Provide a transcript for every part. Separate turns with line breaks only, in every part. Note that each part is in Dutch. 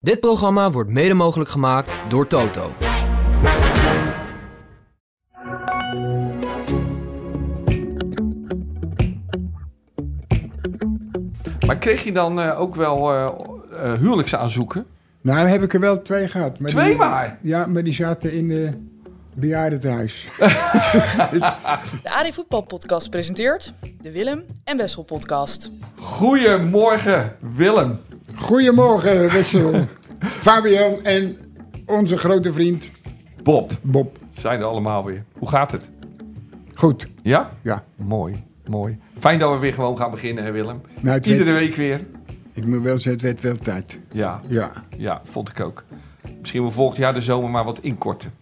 Dit programma wordt mede mogelijk gemaakt door Toto.
Maar kreeg je dan eh, ook wel eh eh, huwelijksaanzoeken?
Nou, heb ik er wel twee gehad. Maar
Twee
die-
maar!
Ja, maar die zaten in de bejaardentehuis.
De AD Voetbal Podcast presenteert de Willem en Wessel Podcast.
Goedemorgen, Willem.
Goedemorgen, Wessel, Fabian en onze grote vriend
Bob,
Bob.
zijn er allemaal weer. Hoe gaat het?
Goed,
Ja?
ja.
Mooi, mooi. Fijn dat we weer gewoon gaan beginnen, hè, Willem.
Nou, het
Iedere
werd-
week weer.
Ik moet wel zeggen, het werd wel tijd.
Ja,
Ja.
ja, vond ik ook. Misschien wel volgend jaar de zomer maar wat inkorten.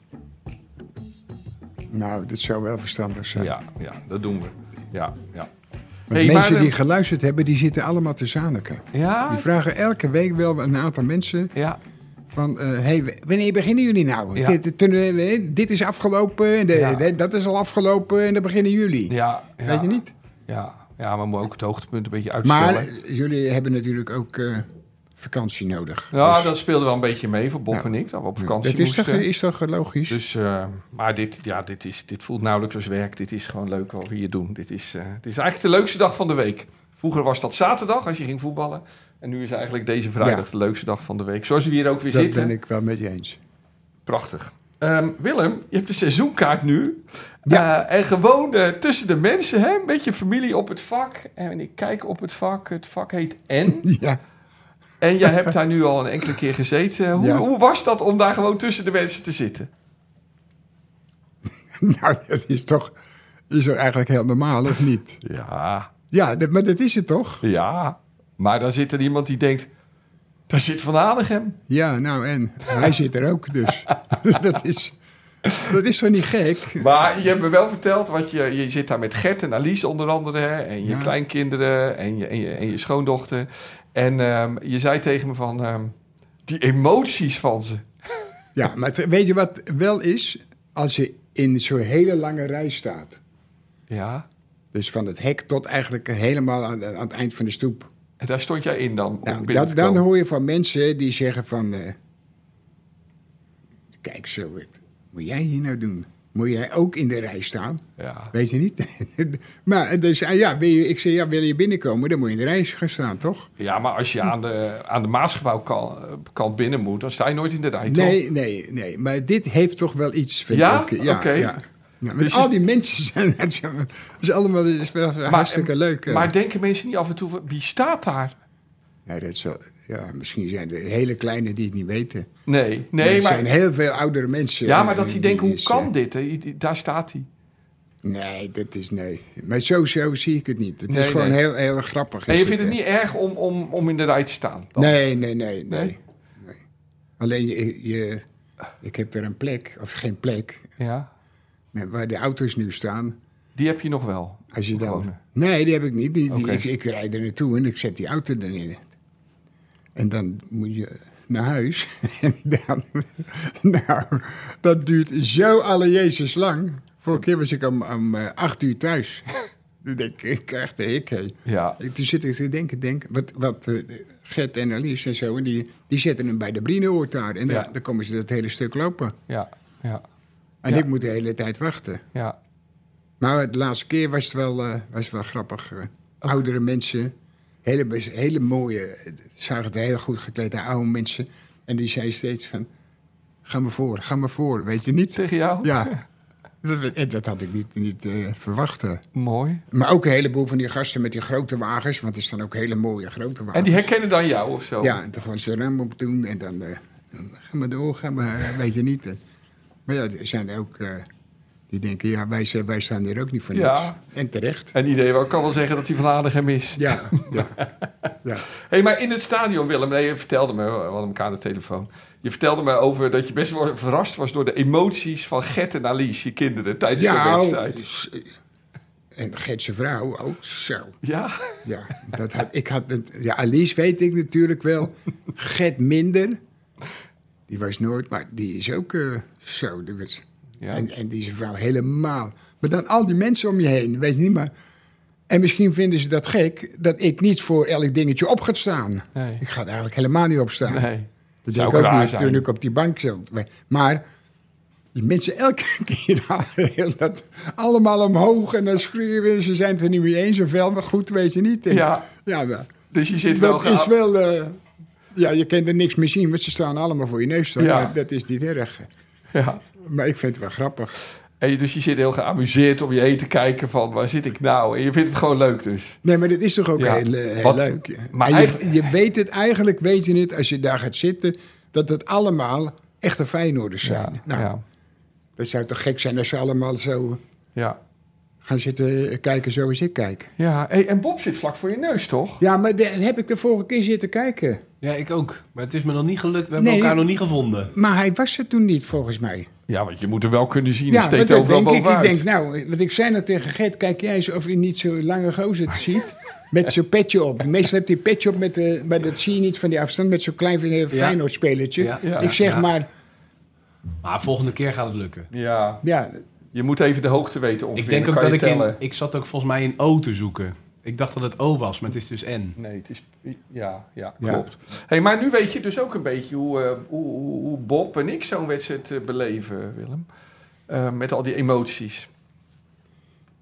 Nou, dat zou wel verstandig zijn.
Ja, ja, dat doen we. Ja, ja.
Want
Hey,
mensen
maar-
die geluisterd hebben, die zitten allemaal te zaniken.
Ja,
Die vragen elke week wel een aantal mensen
ja,
van... eh, hey, w- wanneer beginnen jullie nou?
Ja.
Dit, dit- eh, dit is afgelopen en de-
Ja.
de- dat is al afgelopen en dan beginnen jullie.
ja, ja.
Weet je niet?
Ja, ja maar we moeten ook het hoogtepunt een beetje uitstellen.
Maar eh, jullie hebben natuurlijk ook eh, vakantie nodig.
ja,
Dus
dat speelde wel een beetje mee voor Bob
Nou,
en ik, dat we op vakantie
dat is
moesten.
toch, is toch logisch?
Dus, eh, maar dit, ja, dit, is, dit voelt nauwelijks als werk. Dit is gewoon leuk wat we hier doen. Dit is, eh, dit is eigenlijk de leukste dag van de week. Vroeger was dat zaterdag als je ging voetballen. En nu is eigenlijk deze vrijdag
Ja.
de leukste dag van de week. Zoals we hier ook weer
dat
zitten.
ben ik wel met je eens.
Prachtig. Ehm, Willem, je hebt de seizoenkaart nu.
Ja.
Eh, en gewoon eh, tussen de mensen, hè? met je familie op het vak. En ik kijk op het vak. Het vak heet N.
Ja,
en jij hebt daar nu al een enkele keer gezeten. Hoe,
Ja.
hoe was dat om daar gewoon tussen de mensen te zitten?
nou dat is toch is toch eigenlijk heel normaal, of niet?
Ja,
Ja, dat, maar dat is het toch?
Ja, maar dan zit er iemand die denkt... Daar zit Van Hanegem.
Ja, nou en? Hij zit er ook, dus. dat, is, dat is toch niet gek?
Maar je hebt me wel verteld, want je, je zit daar met Gert en Alice onder andere... hè, en je
Ja.
kleinkinderen en je, en, je, en je schoondochter. En ehm, je zei tegen me van... ehm, die emoties van ze.
Ja, maar het- weet je wat wel is? Als je in zo'n hele lange rij staat.
Ja,
Dus van het hek tot eigenlijk helemaal aan- aan het eind van de stoep.
en daar stond jij in dan. om
Nou,
binnen
dat,
te
dan
komen.
hoor je van mensen die zeggen van... eh, kijk zo, wat moet jij hier nou doen? Moet jij ook in de rij staan?
Ja.
Weet je niet? maar eh, dus, ah, ja, wil je, ik zei, ja, wil je binnenkomen? Dan moet je in de rij gaan staan, toch?
ja, maar als je aan de, aan de Maasgebouwkant kant binnen moet... dan sta je nooit in de rij, toch?
Nee, nee, nee. Maar dit heeft toch wel iets, vind
Ja?
ik.
Oké.
Ja, want
Dus je-
al die mensen zijn... Het is allemaal het is wel hartstikke leuk. eh.
Maar denken mensen niet af en toe... van, Wie staat daar?
Nee, dat is wel- ja, misschien zijn er hele kleine die het niet weten.
Nee,
Nee,
nee,
er
maar...
zijn heel veel oudere mensen.
Ja, maar
eh,
dat die denken, hoe
is, Dus eh,
kan dit? hè? Die- Daar staat hij.
Nee, dat is nee. Maar sowieso zie ik het niet. Het is
Nee,
gewoon
nee.
heel, heel grappig.
En
is
je vindt
hè?
het niet erg om, om, om in de rij te staan? dan?
Nee, nee, nee, nee.
Nee?
nee. Alleen je, je- ik heb er een plek, of geen plek,
Ja,
maar waar de auto's nu staan.
die heb je nog wel.
Als je
Gewoon.
dan, nee, die heb ik niet. Die, die-
Oké.
ik, ik rijd er naartoe en ik zet die auto erin. En dan moet je naar huis. en dan, nou, dat duurt zo alle Jezus lang. Vorige keer was ik om, om eh, acht uur thuis. Dan denk ik, ik krijg de hik. hé.
Ja,
Ik- Eh, Toen zit ik te denken, denk, wat, wat eh, Gert en Alice en zo, en die, die zetten hem bij de Brinoort daar. En
Ja.
dan, dan komen ze dat hele stuk lopen.
ja, ja,
En
Ja.
ik moet de hele tijd wachten.
ja.
Maar de laatste keer was het wel, eh, was het wel grappig. eh, Oudere mensen, hele, bes- hele mooie, eh, zagen het heel goed geklede oude mensen. En die zei steeds van, ga maar voor, ga maar voor, weet je niet?
Tegen jou?
Ja, dat, en dat had ik niet, niet eh, verwacht. eh.
Mooi.
Maar ook een heleboel van die gasten met die grote wagens, want er staan ook hele mooie grote wagens.
En die herkennen dan jou of zo?
Ja, en dan gewoon zijn rem op doen en dan, eh, dan ga maar door, ga maar, eh, weet je niet. eh. Maar ja, er zijn er ook eh, die denken, ja, wij, zijn- wij staan hier ook niet voor niks.
Ja.
En terecht.
En iedereen wel- kan wel zeggen dat hij van Hanegem is.
Ja, ja, ja.
hey, maar in het stadion, Willem, nee, je vertelde me, we hadden elkaar aan de telefoon. Je vertelde me over dat je best wel verrast was door de emoties van Gert en Alice, je kinderen, tijdens de
Ja, oh,
wedstrijd.
dus, eh, en Gertse vrouw ook, zo.
Ja,
Ja, dat had, ik had het, ja, Alice weet ik natuurlijk wel. Gert minder. Die was nooit, maar die is ook eh, zo. die was-
Ja.
en, en die is een vrouw helemaal. Maar dan al die mensen om je heen, weet je niet, maar... En misschien vinden ze dat gek, dat ik niet voor elk dingetje op ga staan.
Nee.
Ik ga er eigenlijk helemaal niet op staan.
nee.
Dat
Zou
deed ik
ook
ook
raar
niet
zijn.
toen ik op die bank zat. Maar die mensen elke keer halen dat allemaal omhoog en dan schreeuwen ze, ze zijn het er niet mee eens of wel, maar goed weet je niet. En-
Ja.
ja maar
Dus je zit wel
dat is
geapp-
wel... eh, ja, je kunt er niks meer zien, want ze staan allemaal voor je neus. staan,
Ja.
maar dat is niet erg.
Ja.
Maar ik vind het wel grappig.
En je, dus je zit heel geamuseerd om je heen te kijken van waar zit ik nou? En je vindt het gewoon leuk dus.
Nee, maar dit is toch ook
Ja.
heel, eh, heel
Wat-
leuk. ja.
maar
en je,
eigenlijk-
je weet het, eigenlijk weet je het als je daar gaat zitten, dat het allemaal echte Feyenoorders zijn. nou,
ja.
dat zou toch gek zijn als ze allemaal zo
ja.
gaan zitten eh, kijken zoals ik kijk.
Ja, hey, en Bob zit vlak voor je neus, toch?
Ja, maar daar heb ik de vorige keer zitten kijken.
Ja, ik ook. Maar het is me nog niet gelukt. We hebben
Nee.
elkaar nog niet gevonden.
Maar hij was er toen niet, volgens mij.
Ja, want je moet er wel kunnen zien. Ja,
Ja,
steekt
want dat
overal
denk ik. Ik
bovenuit.
denk, nou, want ik zei nou tegen Gert, kijk jij eens of je niet zo'n lange gozer het ziet. Met zo'n petje op. Meestal heb je petje op, met, de, maar dat zie je niet van die afstand. Met zo'n klein eh, Feyenoord spelletje.
Ja,
ja,
ik zeg
ja.
maar,
Maar volgende keer gaat het lukken.
Ja,
ja,
je moet even de hoogte weten ongeveer.
ik denk
dan
ook
kan
dat ik
je tellen.
in... Ik zat ook volgens mij in O te zoeken. Ik dacht dat het O was, maar het is dus N.
Nee, het is... Ja, ja,
Ja.
klopt. Hey, maar nu weet je dus ook een beetje hoe, eh, hoe, hoe- hoe Bob en ik zo'n wedstrijd eh, beleven, Willem. Eh, met al die emoties.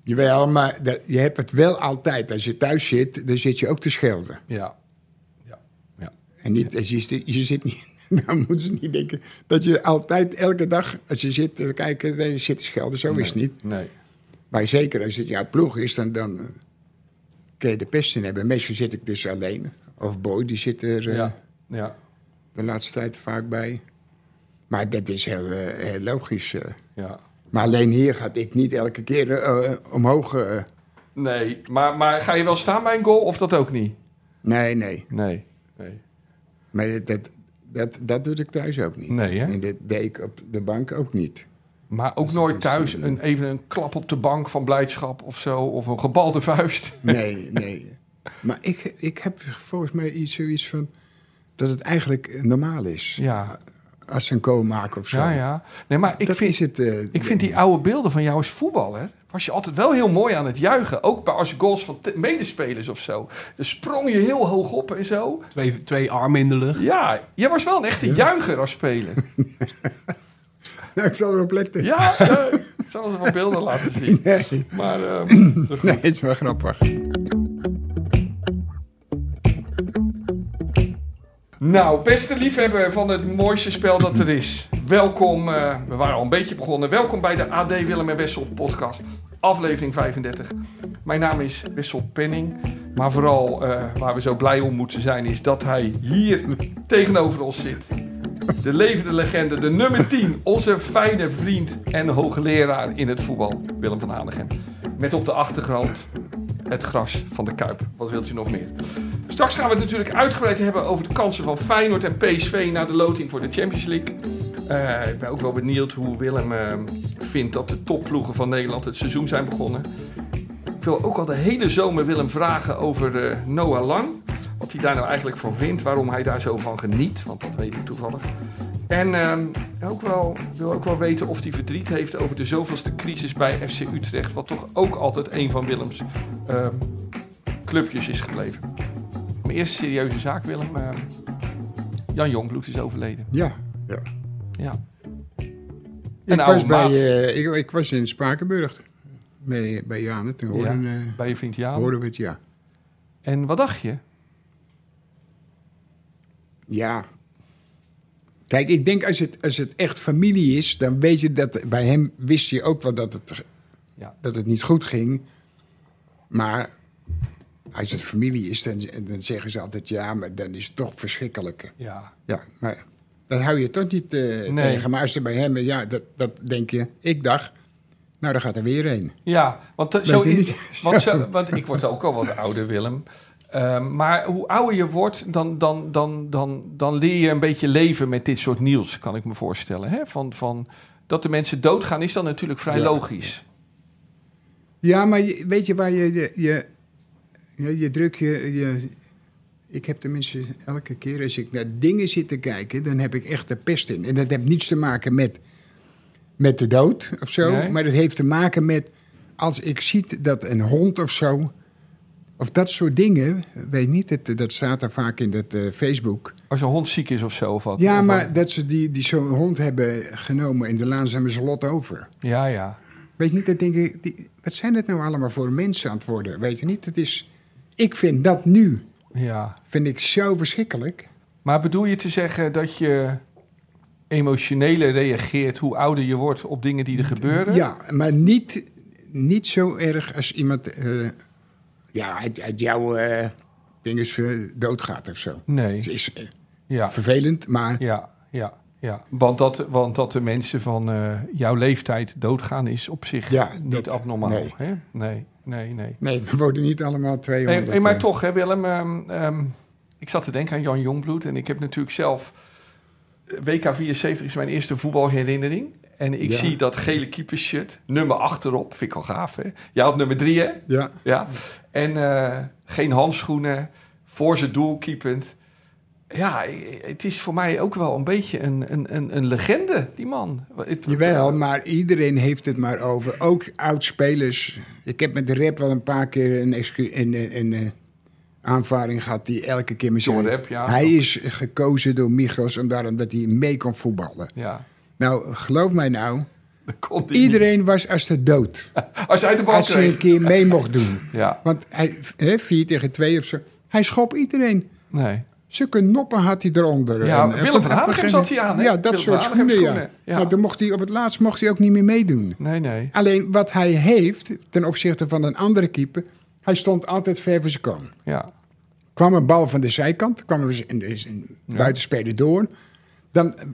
jawel, maar dat, je hebt het wel altijd. Als je thuis zit, dan zit je ook te schelden.
Ja.
En niet, als je, zit- je zit niet... Dan moeten ze niet denken dat je altijd elke dag, als je zit te kijken, dan zit te schelden. Zo is het niet.
Nee.
Maar zeker als het jouw ploeg is, dan, dan eh, kun je de pest in hebben. Meestal zit ik dus alleen. Of Boy, die zit er eh,
Ja. Ja.
de laatste tijd vaak bij. Maar dat is heel, eh, heel logisch. eh.
Ja.
Maar alleen hier gaat ik niet elke keer eh, eh, omhoog. eh.
Nee, maar, maar ga je wel staan bij een goal of dat ook niet?
nee, nee.
Nee. Nee.
Maar dat, dat, dat, dat doe ik thuis ook niet.
Nee, hè?
En dat deed ik op de bank ook niet.
Maar ook nooit thuis
zo,
een, even een klap op de bank van blijdschap of zo. Of een gebalde vuist.
Nee, nee. Maar ik, ik heb volgens mij iets, zoiets van dat het eigenlijk normaal is.
Ja,
Als ze een kool maken of zo.
ja, ja. Nee, maar ik
dat
vind,
is het. eh,
ik vind die oude beelden van jou als voetballer... was je altijd wel heel mooi aan het juichen. Ook bij als je goals van te- medespelers of zo. Dan sprong je heel hoog op en zo.
Twee, twee armen in de lucht.
Ja, jij was wel een echte juicher als speler.
Nou, ik zal erop letten.
Ja, eh, ik zal ze wat beelden laten zien. Maar eh,
Nee, het is wel grappig.
Nou, beste liefhebber van het mooiste spel dat er is. Welkom, eh, we waren al een beetje begonnen. Welkom bij de AD Willem en Wessel podcast, aflevering 35. Mijn naam is Wessel Penning. Maar vooral eh, waar we zo blij om moeten zijn is dat hij hier tegenover ons zit. De levende legende, de nummer 10. Onze fijne vriend en hoogleraar in het voetbal, Willem van Hanegem. Met op de achtergrond het gras van de Kuip. Wat wilt u nog meer? Straks gaan we het natuurlijk uitgebreid hebben over de kansen van Feyenoord en PSV na de loting voor de Champions League. Eh, ik ben ook wel benieuwd hoe Willem eh, vindt dat de topploegen van Nederland het seizoen zijn begonnen. Ik wil ook al de hele zomer Willem vragen over eh, Noah Lang. Wat hij daar nou eigenlijk van vindt, waarom hij daar zo van geniet, want dat weet ik toevallig. En eh, ook wel, wil ook wel weten of hij verdriet heeft over de zoveelste crisis bij FC Utrecht, wat toch ook altijd een van Willems eh, clubjes is gebleven. Mijn eerste serieuze zaak, Willem. eh, Jan Jongbloed is overleden.
Ja. ja.
Ja.
Ik,
oude
was bij,
maat.
eh, ik, ik was in Spakenburg. Bij, bij Jane. Toen hoorden, eh,
Bij je vriend Jaan.
hoorden we het, ja.
En wat dacht je?
Ja. Kijk, ik denk als het, als het echt familie is, dan weet je dat... Bij hem wist je ook wel dat het,
Ja.
dat het niet goed ging. Maar als het familie is, dan, dan zeggen ze altijd... Ja, maar dan is het toch verschrikkelijk.
Ja.
Ja, maar dat hou je toch niet eh, tegen. Maar als er bij hem, ja, dat, dat denk je. Ik dacht, nou, daar gaat er weer een.
Ja, want, eh,
Weet
zo
je
in-
niet?
want, zo- want ik word ook al wat ouder, Willem. Eh, maar hoe ouder je wordt, dan, dan, dan, dan, dan leer je een beetje leven met dit soort nieuws, kan ik me voorstellen. Hè? Van, van, dat de mensen doodgaan is dan natuurlijk vrij
Ja.
logisch.
Ja, maar je- weet je waar je... Je, je, je, je druk je, je... Ik heb tenminste elke keer als ik naar dingen zit te kijken... dan heb ik echt de pest in. En dat heeft niets te maken met, met de dood of zo.
Nee.
Maar dat heeft te maken met... als ik zie dat een hond of zo... Of dat soort dingen, weet niet, dat, dat staat daar vaak in dat eh, Facebook.
Als je hond ziek is of zo. Of wat,
Ja,
Of
maar
wat-
dat ze die, die zo'n hond hebben genomen en de laan zijn we ze lot over.
Ja, ja.
Weet je niet, dat denk ik, die, wat zijn het nou allemaal voor mensen aan het worden? Weet je niet, het is, ik vind dat nu,
ja.
vind ik zo verschrikkelijk.
Maar bedoel je te zeggen dat je emotioneler reageert hoe ouder je wordt op dingen die er gebeuren?
Ja, maar niet, niet zo erg als iemand eh, ja, uit, uit jouw eh ding is eh, doodgaat of zo. Het
Nee.
is eh,
Ja,
vervelend, maar
ja, ja. ja. Want, dat, want dat de mensen van eh, jouw leeftijd doodgaan is op zich
Ja,
niet
dat-
abnormaal.
nee.
Hè? nee, nee, nee.
nee, we worden niet allemaal
Hey,
200.
hey, maar
eh,
toch, hè, Willem. ehm, ehm, ik zat te denken aan Jan Jongbloed. En ik heb natuurlijk zelf... eh, WK 74 is mijn eerste voetbalherinnering. En ik
Ja.
zie dat gele keepershirt. Nummer achterop. Vind ik wel gaaf, hè? Jij had nummer drie, hè?
Ja,
Ja. En eh, geen handschoenen. Voor zijn doel keepend. Ja, eh, het is voor mij ook wel een beetje een, een, een, een legende, die man. Het-
jawel, maar iedereen heeft het maar over. Ook oud-spelers. Ik heb met de rap wel een paar keer een, excu- een, een, een, eh, aanvaring gehad die elke keer me zei...
Door rap, ja.
Hij is gekozen door Michels omdat, omdat hij mee kon voetballen.
Ja,
Nou, geloof mij nou,
dat kon die
iedereen was als de dood.
niet. Als hij de bal
Als hij een
kreeg.
keer mee mocht doen.
Ja,
Want hij, hè, vier tegen twee of zo. Hij schopt iedereen.
nee.
Zulke noppen had hij eronder.
Ja,
eh,
Willem
tot
van
op een
Hanegem
gegeven-
zat hij aan, hè?
Ja, dat
Willem
soort
van Hanegem
schoenen, ja.
schoenen, ja.
Nou, dan mocht hij, op het laatst mocht hij ook niet meer meedoen.
Nee, nee.
Alleen wat hij heeft ten opzichte van een andere keeper... hij stond altijd ver voor zijn koon.
Ja.
Kwam een bal van de zijkant, kwam er een, een, een
Ja.
buitenspeler door... dan eh,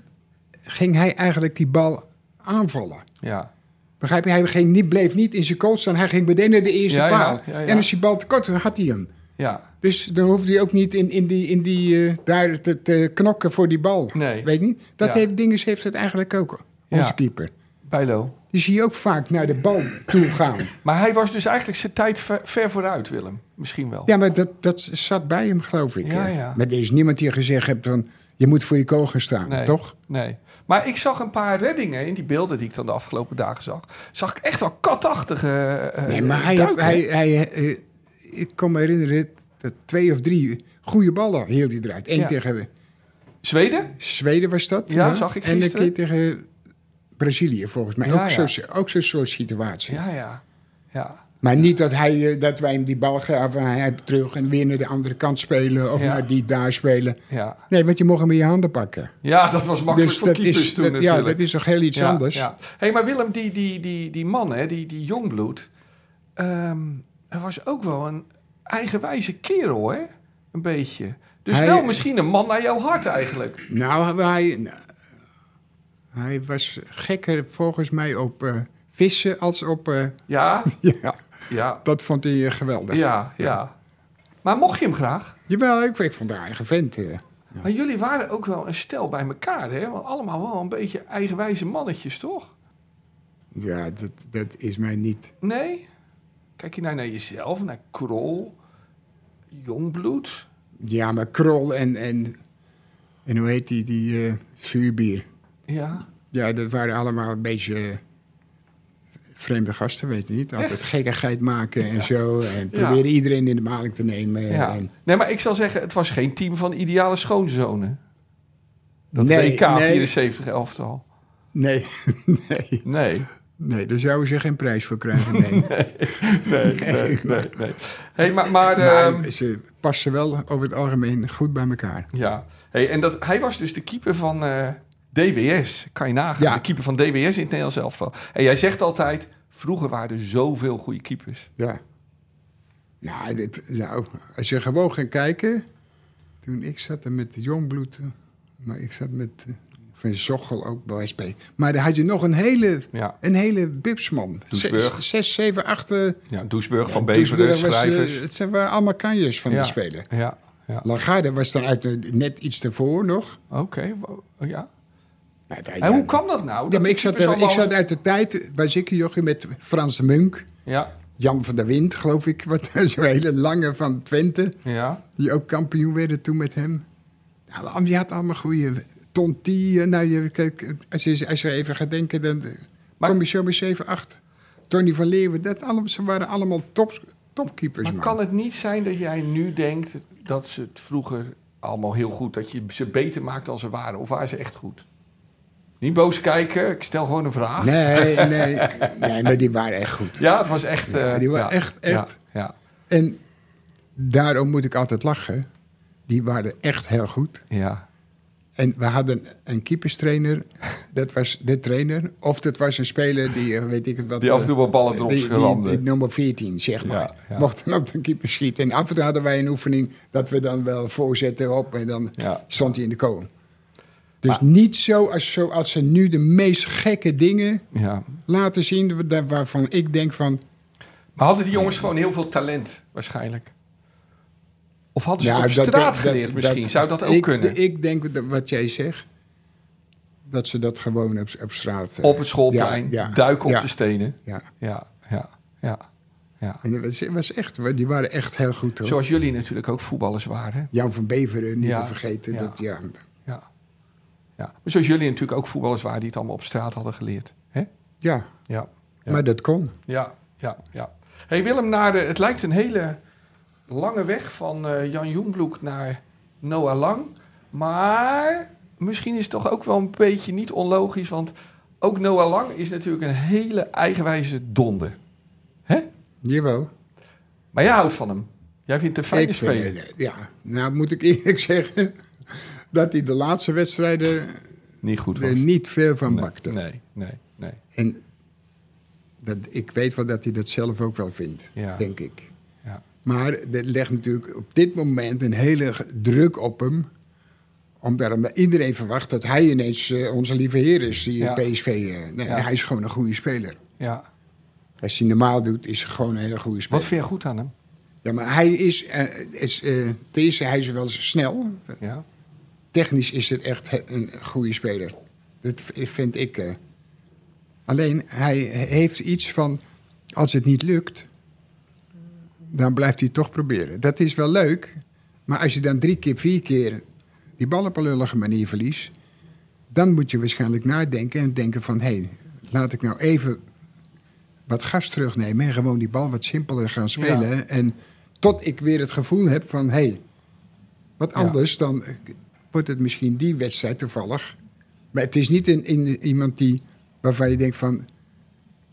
ging hij eigenlijk die bal aanvallen.
Ja.
Begrijp je? Hij ging niet, bleef niet in zijn kool staan. Hij ging meteen de eerste
Ja, ja,
paal.
ja, ja.
En als die bal te kort was, had hij hem.
Ja.
Dus dan hoefde hij ook niet in, in die, in die, eh, daar te, te knokken voor die bal.
Nee.
Weet je niet? Dat
Ja.
heeft Dinges heeft het eigenlijk ook, onze
Ja.
keeper.
Bijlo.
Die zie je ook vaak naar de bal toe gaan.
Maar hij was dus eigenlijk zijn tijd ver, ver vooruit, Willem. Misschien wel.
Ja, maar dat, dat zat bij hem, geloof ik.
Oh. Ja,
hè.
ja.
Maar er is niemand die gezegd heeft van... je moet voor je kool gaan staan,
Nee.
toch?
Nee. Maar ik zag een paar reddingen in die beelden die ik dan de afgelopen dagen zag. Zag ik echt wel katachtige. eh,
Nee, maar hij...
duiken,
hij, hij eh, ik kan me herinneren dat twee of drie goede ballen hield hij eruit. Eén
Ja.
tegen
Zweden?
Zweden was dat.
Ja, zag ik
En een
gisteren.
keer tegen Brazilië, volgens mij.
Ja,
ook
ja.
zo'n ook zo'n soort situatie.
Ja, ja. Ja.
Maar niet dat, hij, eh, dat wij hem die bal gaven, hij hij terug en weer naar de andere kant spelen of
Ja.
naar die daar spelen.
Ja.
Nee, want je mocht hem in je handen pakken.
ja, dat was makkelijk voor keepers
is,
toen
Dus dat, ja,
natuurlijk.
dat is toch heel iets
Ja,
anders.
Ja. hey, maar Willem, die, die, die, die man, hè, die, die jongbloed. ehm, hij was ook wel een eigenwijze kerel, hè? Een beetje. Dus
Hij-
wel misschien een man naar jouw hart eigenlijk.
Nou, hij, nou, hij was gekker volgens mij op eh, vissen als op... eh,
Ja,
ja,
ja,
dat vond hij eh, geweldig.
ja, ja. Maar mocht je hem graag?
Jawel, ik, ik vond haar een aardige vent. eh.
Maar jullie waren ook wel een stel bij elkaar, hè? Want allemaal wel een beetje eigenwijze mannetjes, toch?
Ja, dat, dat is mij niet...
Nee? Kijk je nou naar jezelf, naar Krol, Jongbloed?
Ja, maar Krol en, en, en hoe heet die, die eh, zuurbier.
Ja.
Ja, dat waren allemaal een beetje eh, vreemde gasten, weet je niet. Altijd gekkigheid maken en zo. En proberen iedereen in de maling te nemen.
Ja.
En,
Nee, maar ik zal zeggen, het was geen team van ideale schoonzonen. Dat
Nee,
WK
nee.
74 elftal.
nee, nee,
Nee.
nee, daar zouden ze geen prijs voor krijgen. Nee.
Nee, nee, nee. nee. Hey, maar, maar, ehm,
Maar ze passen wel over het algemeen goed bij elkaar.
ja. Hey, en dat, hij was dus de keeper van eh, DWS. Kan je nagaan.
Ja.
De keeper van DWS in het Nederlands elftal. En jij zegt altijd, vroeger waren er zoveel goede keepers.
Ja. Nou, dit, nou, als je gewoon gaat kijken. Toen ik zat er met de Jongbloed. eh, Maar ik zat met eh, Van Zochel ook bij wijze van spreken. Maar daar had je nog een hele,
Ja.
een hele bibsman.
Doesburg.
Zes, zes, zeven, acht. eh,
Ja, Doesburg, Van
Doesburg
Beveren,
was, eh,
schrijvers.
Het zijn wel allemaal kanjers van
ja.
de spelen.
Ja, ja.
Lagarde was dan uit, eh, net iets daarvoor nog.
Oké. wa- Ja.
Nou, daar-
En hoe kwam dat nou? Dat
Ja, maar
die
ik zat,
keepers
er- ik
allemaal-
zat uit de tijd, was ik jochie met Frans de Munk,
Ja,
Jan van der Wind, geloof ik, wat zo'n hele lange van Twente.
ja.
Die ook kampioen werden toen met hem. Nou, die had allemaal goede Tonti. eh, Nou, je, kijk, als, je, als je even gaat denken, dan eh,
Maar-
kom je zo bij 7-8. Tony van Leeuwen, dat allemaal, ze waren allemaal top, Topkeepers,
Maar
man.
kan het niet zijn dat jij nu denkt dat ze het vroeger allemaal heel goed, dat je ze beter maakt dan ze waren? Of waren ze echt goed? Niet boos kijken, ik stel gewoon een vraag.
Nee, nee, nee, maar die waren echt goed.
Ja, het was echt. eh,
die waren
ja,
echt,
ja,
echt.
Ja,
En daarom moet ik altijd lachen. Die waren echt heel goed.
ja.
En we hadden een keeperstrainer. Dat was de trainer. Of dat was een speler die, eh, weet ik het wat...
Die af en toe
eh,
wel ballen erop
die, die, die
schramde.
nummer 14, zeg maar.
ja.
Mocht dan op de keeper schieten. En af en toe hadden wij een oefening dat we dan wel voorzetten op. En dan
Ja.
stond hij in de kool. Dus niet zo als, zo als ze nu de meest gekke dingen
Ja.
laten zien... waar- waarvan ik denk van...
Maar hadden die jongens gewoon heel veel talent, waarschijnlijk? Of hadden ze
Ja,
op
dat-
straat
dat-
geleerd
dat-
misschien?
dat-
Zou dat ook
ik,
kunnen?
Ik denk dat wat jij zegt, dat ze dat gewoon op, op straat... eh,
op het schoolplein,
ja, ja,
duiken op
ja,
de stenen.
Ja,
Ja, ja, ja. ja.
en dat was, was echt, die waren echt heel goed hoor.
Zoals jullie natuurlijk ook voetballers waren.
Jan van Beveren, niet
Ja,
te vergeten.
ja.
Dat, ja.
Ja. Ja. Maar zoals jullie natuurlijk ook voetballers waren die het allemaal op straat hadden geleerd. hè?
Ja,
Ja. Ja.
maar dat kon.
Ja, ja, ja. hey Willem, naar de, het lijkt een hele lange weg van eh, Jan Jongbloek naar Noah Lang. Maar misschien is het toch ook wel een beetje niet onlogisch. Want ook Noah Lang is natuurlijk een hele eigenwijze donder.
Jawel.
Maar jij houdt van hem. Jij vindt het een fijne
Ik
speler.
vind, eh, ja, nou moet ik eerlijk zeggen dat hij de laatste wedstrijden
niet goed was.
er niet veel van
nee,
bakte.
nee, nee, nee.
En dat, ik weet wel dat hij dat zelf ook wel vindt,
Ja.
denk ik.
Ja.
Maar er legt natuurlijk op dit moment een hele g- druk op hem. Omdat omdat iedereen verwacht dat hij ineens eh, onze lieve heer is, die
Ja.
PSV. eh, nee,
Ja.
Hij is gewoon een goede speler.
Ja.
Als hij normaal doet, is hij gewoon een hele goede
Wat
speler.
vind je goed aan hem?
Ja, maar hij is, eh, is eh, ten eerste, hij is wel eens snel.
Ja.
Technisch is het echt he- een goede speler. Dat v- vind ik. eh. Alleen hij heeft iets van, als het niet lukt, dan blijft hij het toch proberen. Dat is wel leuk, maar als je dan drie keer, vier keer die bal op een lullige manier verliest, dan moet je waarschijnlijk nadenken en denken van, hé, laat ik nou even wat gas terugnemen en gewoon die bal wat simpeler gaan spelen. En tot ik weer het gevoel heb van, hé, wat
Ja.
anders dan eh, wordt het misschien die wedstrijd toevallig. Maar het is niet in, in iemand die, waarvan je denkt van,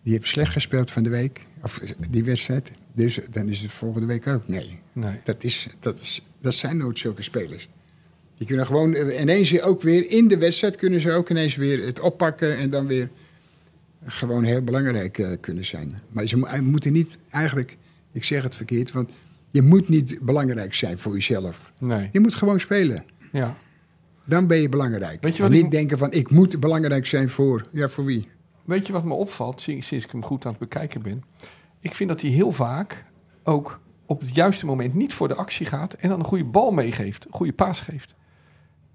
die heeft slecht gespeeld van de week, of eh, die wedstrijd. Dus dan is het volgende week ook. Nee,
Nee.
dat, is, dat, is, dat zijn nooit zulke spelers. Die kunnen gewoon eh, ineens ook weer in de wedstrijd kunnen ze ook ineens weer het oppakken en dan weer gewoon heel belangrijk eh, kunnen zijn. Maar ze mo- eh, moeten niet eigenlijk, ik zeg het verkeerd, want je moet niet belangrijk zijn voor jezelf.
Nee.
Je moet gewoon spelen.
Ja.
Dan ben je belangrijk.
Weet je
en
wat ik-
niet denken van ik moet belangrijk zijn voor, ja voor wie?
Weet je wat me opvalt, sinds sinds ik hem goed aan het bekijken ben? Ik vind dat hij heel vaak ook op het juiste moment niet voor de actie gaat en dan een goede bal meegeeft, een goede paas geeft.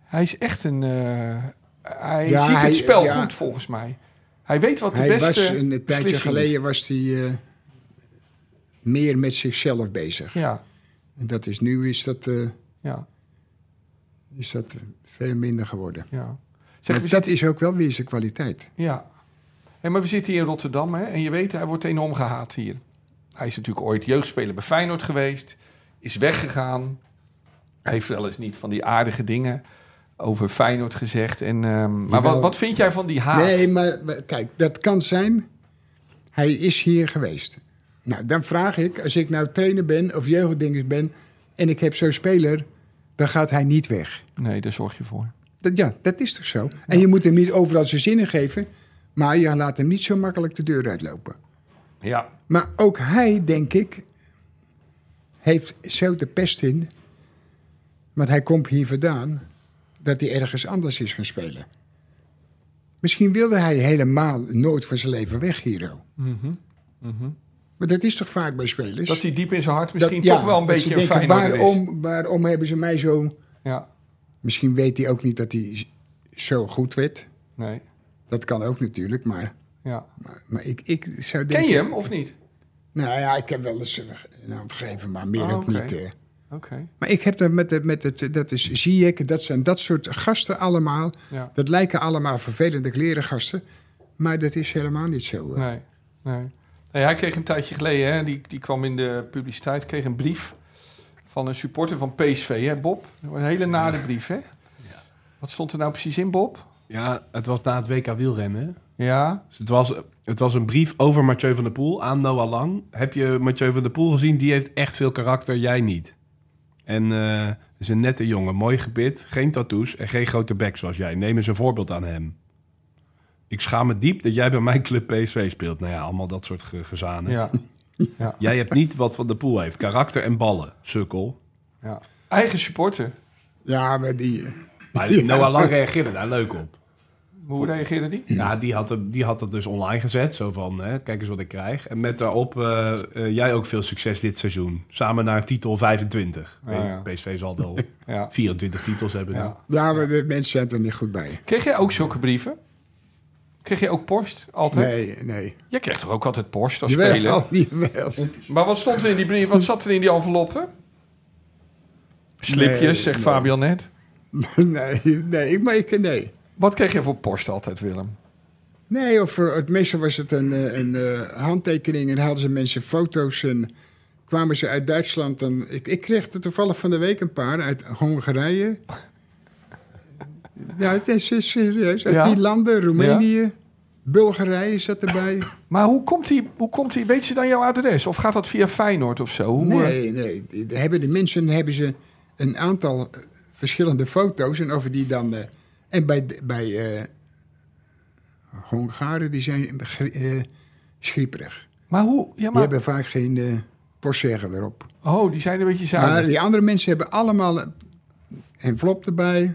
Hij is echt een. eh, hij
Ja,
ziet
hij-
het spel
ja.
goed volgens mij. Hij weet wat de
Hij
beste.
was een tijdje
beslissing is.
geleden was hij eh, meer met zichzelf bezig.
Ja,
En dat is nu is dat, eh,
ja,
is dat veel minder geworden.
ja. Zeg, we
maar dat
zitten-
is ook wel weer zijn kwaliteit.
ja. Hé, maar we zitten hier in Rotterdam hè, en je weet, hij wordt enorm gehaat hier. Hij is natuurlijk ooit jeugdspeler bij Feyenoord geweest, is weggegaan. Hij heeft wel eens niet van die aardige dingen over Feyenoord gezegd. En, ehm, maar wat,
Jawel.
wat vind jij van die haat?
Nee, maar maar kijk, dat kan zijn. Hij is hier geweest. Nou, dan vraag ik, als ik nou trainer ben of jeugddingers ben en ik heb zo'n speler, dan gaat hij niet weg.
Nee, daar zorg je voor.
Dat, ja, dat is toch zo? En je moet hem niet overal zijn zin in geven, maar je laat hem niet zo makkelijk de deur uitlopen.
Ja,
Maar ook hij, denk ik, heeft zo de pest in. Want hij komt hier vandaan dat hij ergens anders is gaan spelen. Misschien wilde hij helemaal nooit van zijn leven weg, Hero. Maar dat is toch vaak bij spelers?
Mhm. dat hij diep in zijn hart misschien
Dat- ja,
toch wel een
dat ze
beetje een
denken,
Feyenoorder is.
waarom, waarom hebben ze mij zo...
Ja,
Misschien weet hij ook niet dat hij zo goed werd.
nee.
Dat kan ook natuurlijk, maar,
Ja.
maar, maar ik, ik zou denken...
Ken je hem of niet?
Nou ja, ik heb wel eens eh, een hand gegeven, maar meer
Oh,
ook
oké.
niet... eh.
Oké,
Maar ik heb dat met, het- met het, dat is Ziyech, dat zijn dat soort gasten allemaal.
ja.
Dat lijken allemaal vervelende klerengasten, maar dat is helemaal niet zo. eh.
Nee, nee. Nee, hij kreeg een tijdje geleden, hè, die, die kwam in de publiciteit, kreeg een brief van een supporter van PSV, hè, Bob? Een hele nare brief, hè? Wat stond er nou precies in, Bob?
Ja, het was na het WK wielrennen. hè?
Ja,
Dus het was, het was een brief over Mathieu van der Poel aan Noah Lang. Heb je Mathieu van der Poel gezien? Die heeft echt veel karakter, jij niet. En eh, is een nette jongen, mooi gebit, geen tattoos en geen grote bek zoals jij. Neem eens een voorbeeld aan hem. Ik schaam me diep dat jij bij mijn club PSV speelt. Nou ja, allemaal dat soort ge- gezanen.
ja,
Jij hebt niet wat Van der Poel heeft. Karakter en ballen, sukkel.
ja. Eigen supporter.
Ja, maar die...
Maar Noah Lang reageerde daar leuk op.
Hoe reageerde die?
Ja, Nou, die had, hem- die had dat dus online gezet. Zo van, hè, kijk eens wat ik krijg. En met daarop, eh, eh, jij ook veel succes dit seizoen. Samen naar titel 25.
Ah, ja.
PSV zal wel
Ja.
24 titels hebben.
ja.
Ja, maar de mensen zijn er niet goed bij.
Kreeg jij ook zulke brieven? Kreeg jij ook post? Altijd?
Nee, nee.
Jij kreeg toch ook altijd post als speler?
Jawel, Oh. jawel.
Maar wat stond er in die brief? Wat zat er in die enveloppen? Slipjes,
Nee,
zegt
nee.
Fabian net.
Nee, nee, ik merk nee.
Wat kreeg jij voor post altijd, Willem?
Nee, of voor het meestal was het een, eh, een eh, handtekening en hadden ze mensen foto's en kwamen ze uit Duitsland. En ik, ik kreeg er toevallig van de week een paar uit Hongarije. ja, het is is serieus. Uit
Ja?
die landen, Roemenië, Bulgarije zat erbij.
Maar hoe komt die, hoe komt die, weet ze dan jouw adres? Of gaat dat via Feyenoord of zo? Hoe, eh,
Nee, nee. die- die Hebben de mensen hebben ze een aantal eh, verschillende foto's en over die dan. eh, en bij, de- bij eh, Hongaren, die zijn gri- eh, schrieperig.
Maar hoe, ja
Die
maar,
hebben vaak geen eh postzegger erop.
oh, die zijn een beetje
Maar
zuinig.
die andere mensen hebben allemaal eh, een envelop erbij,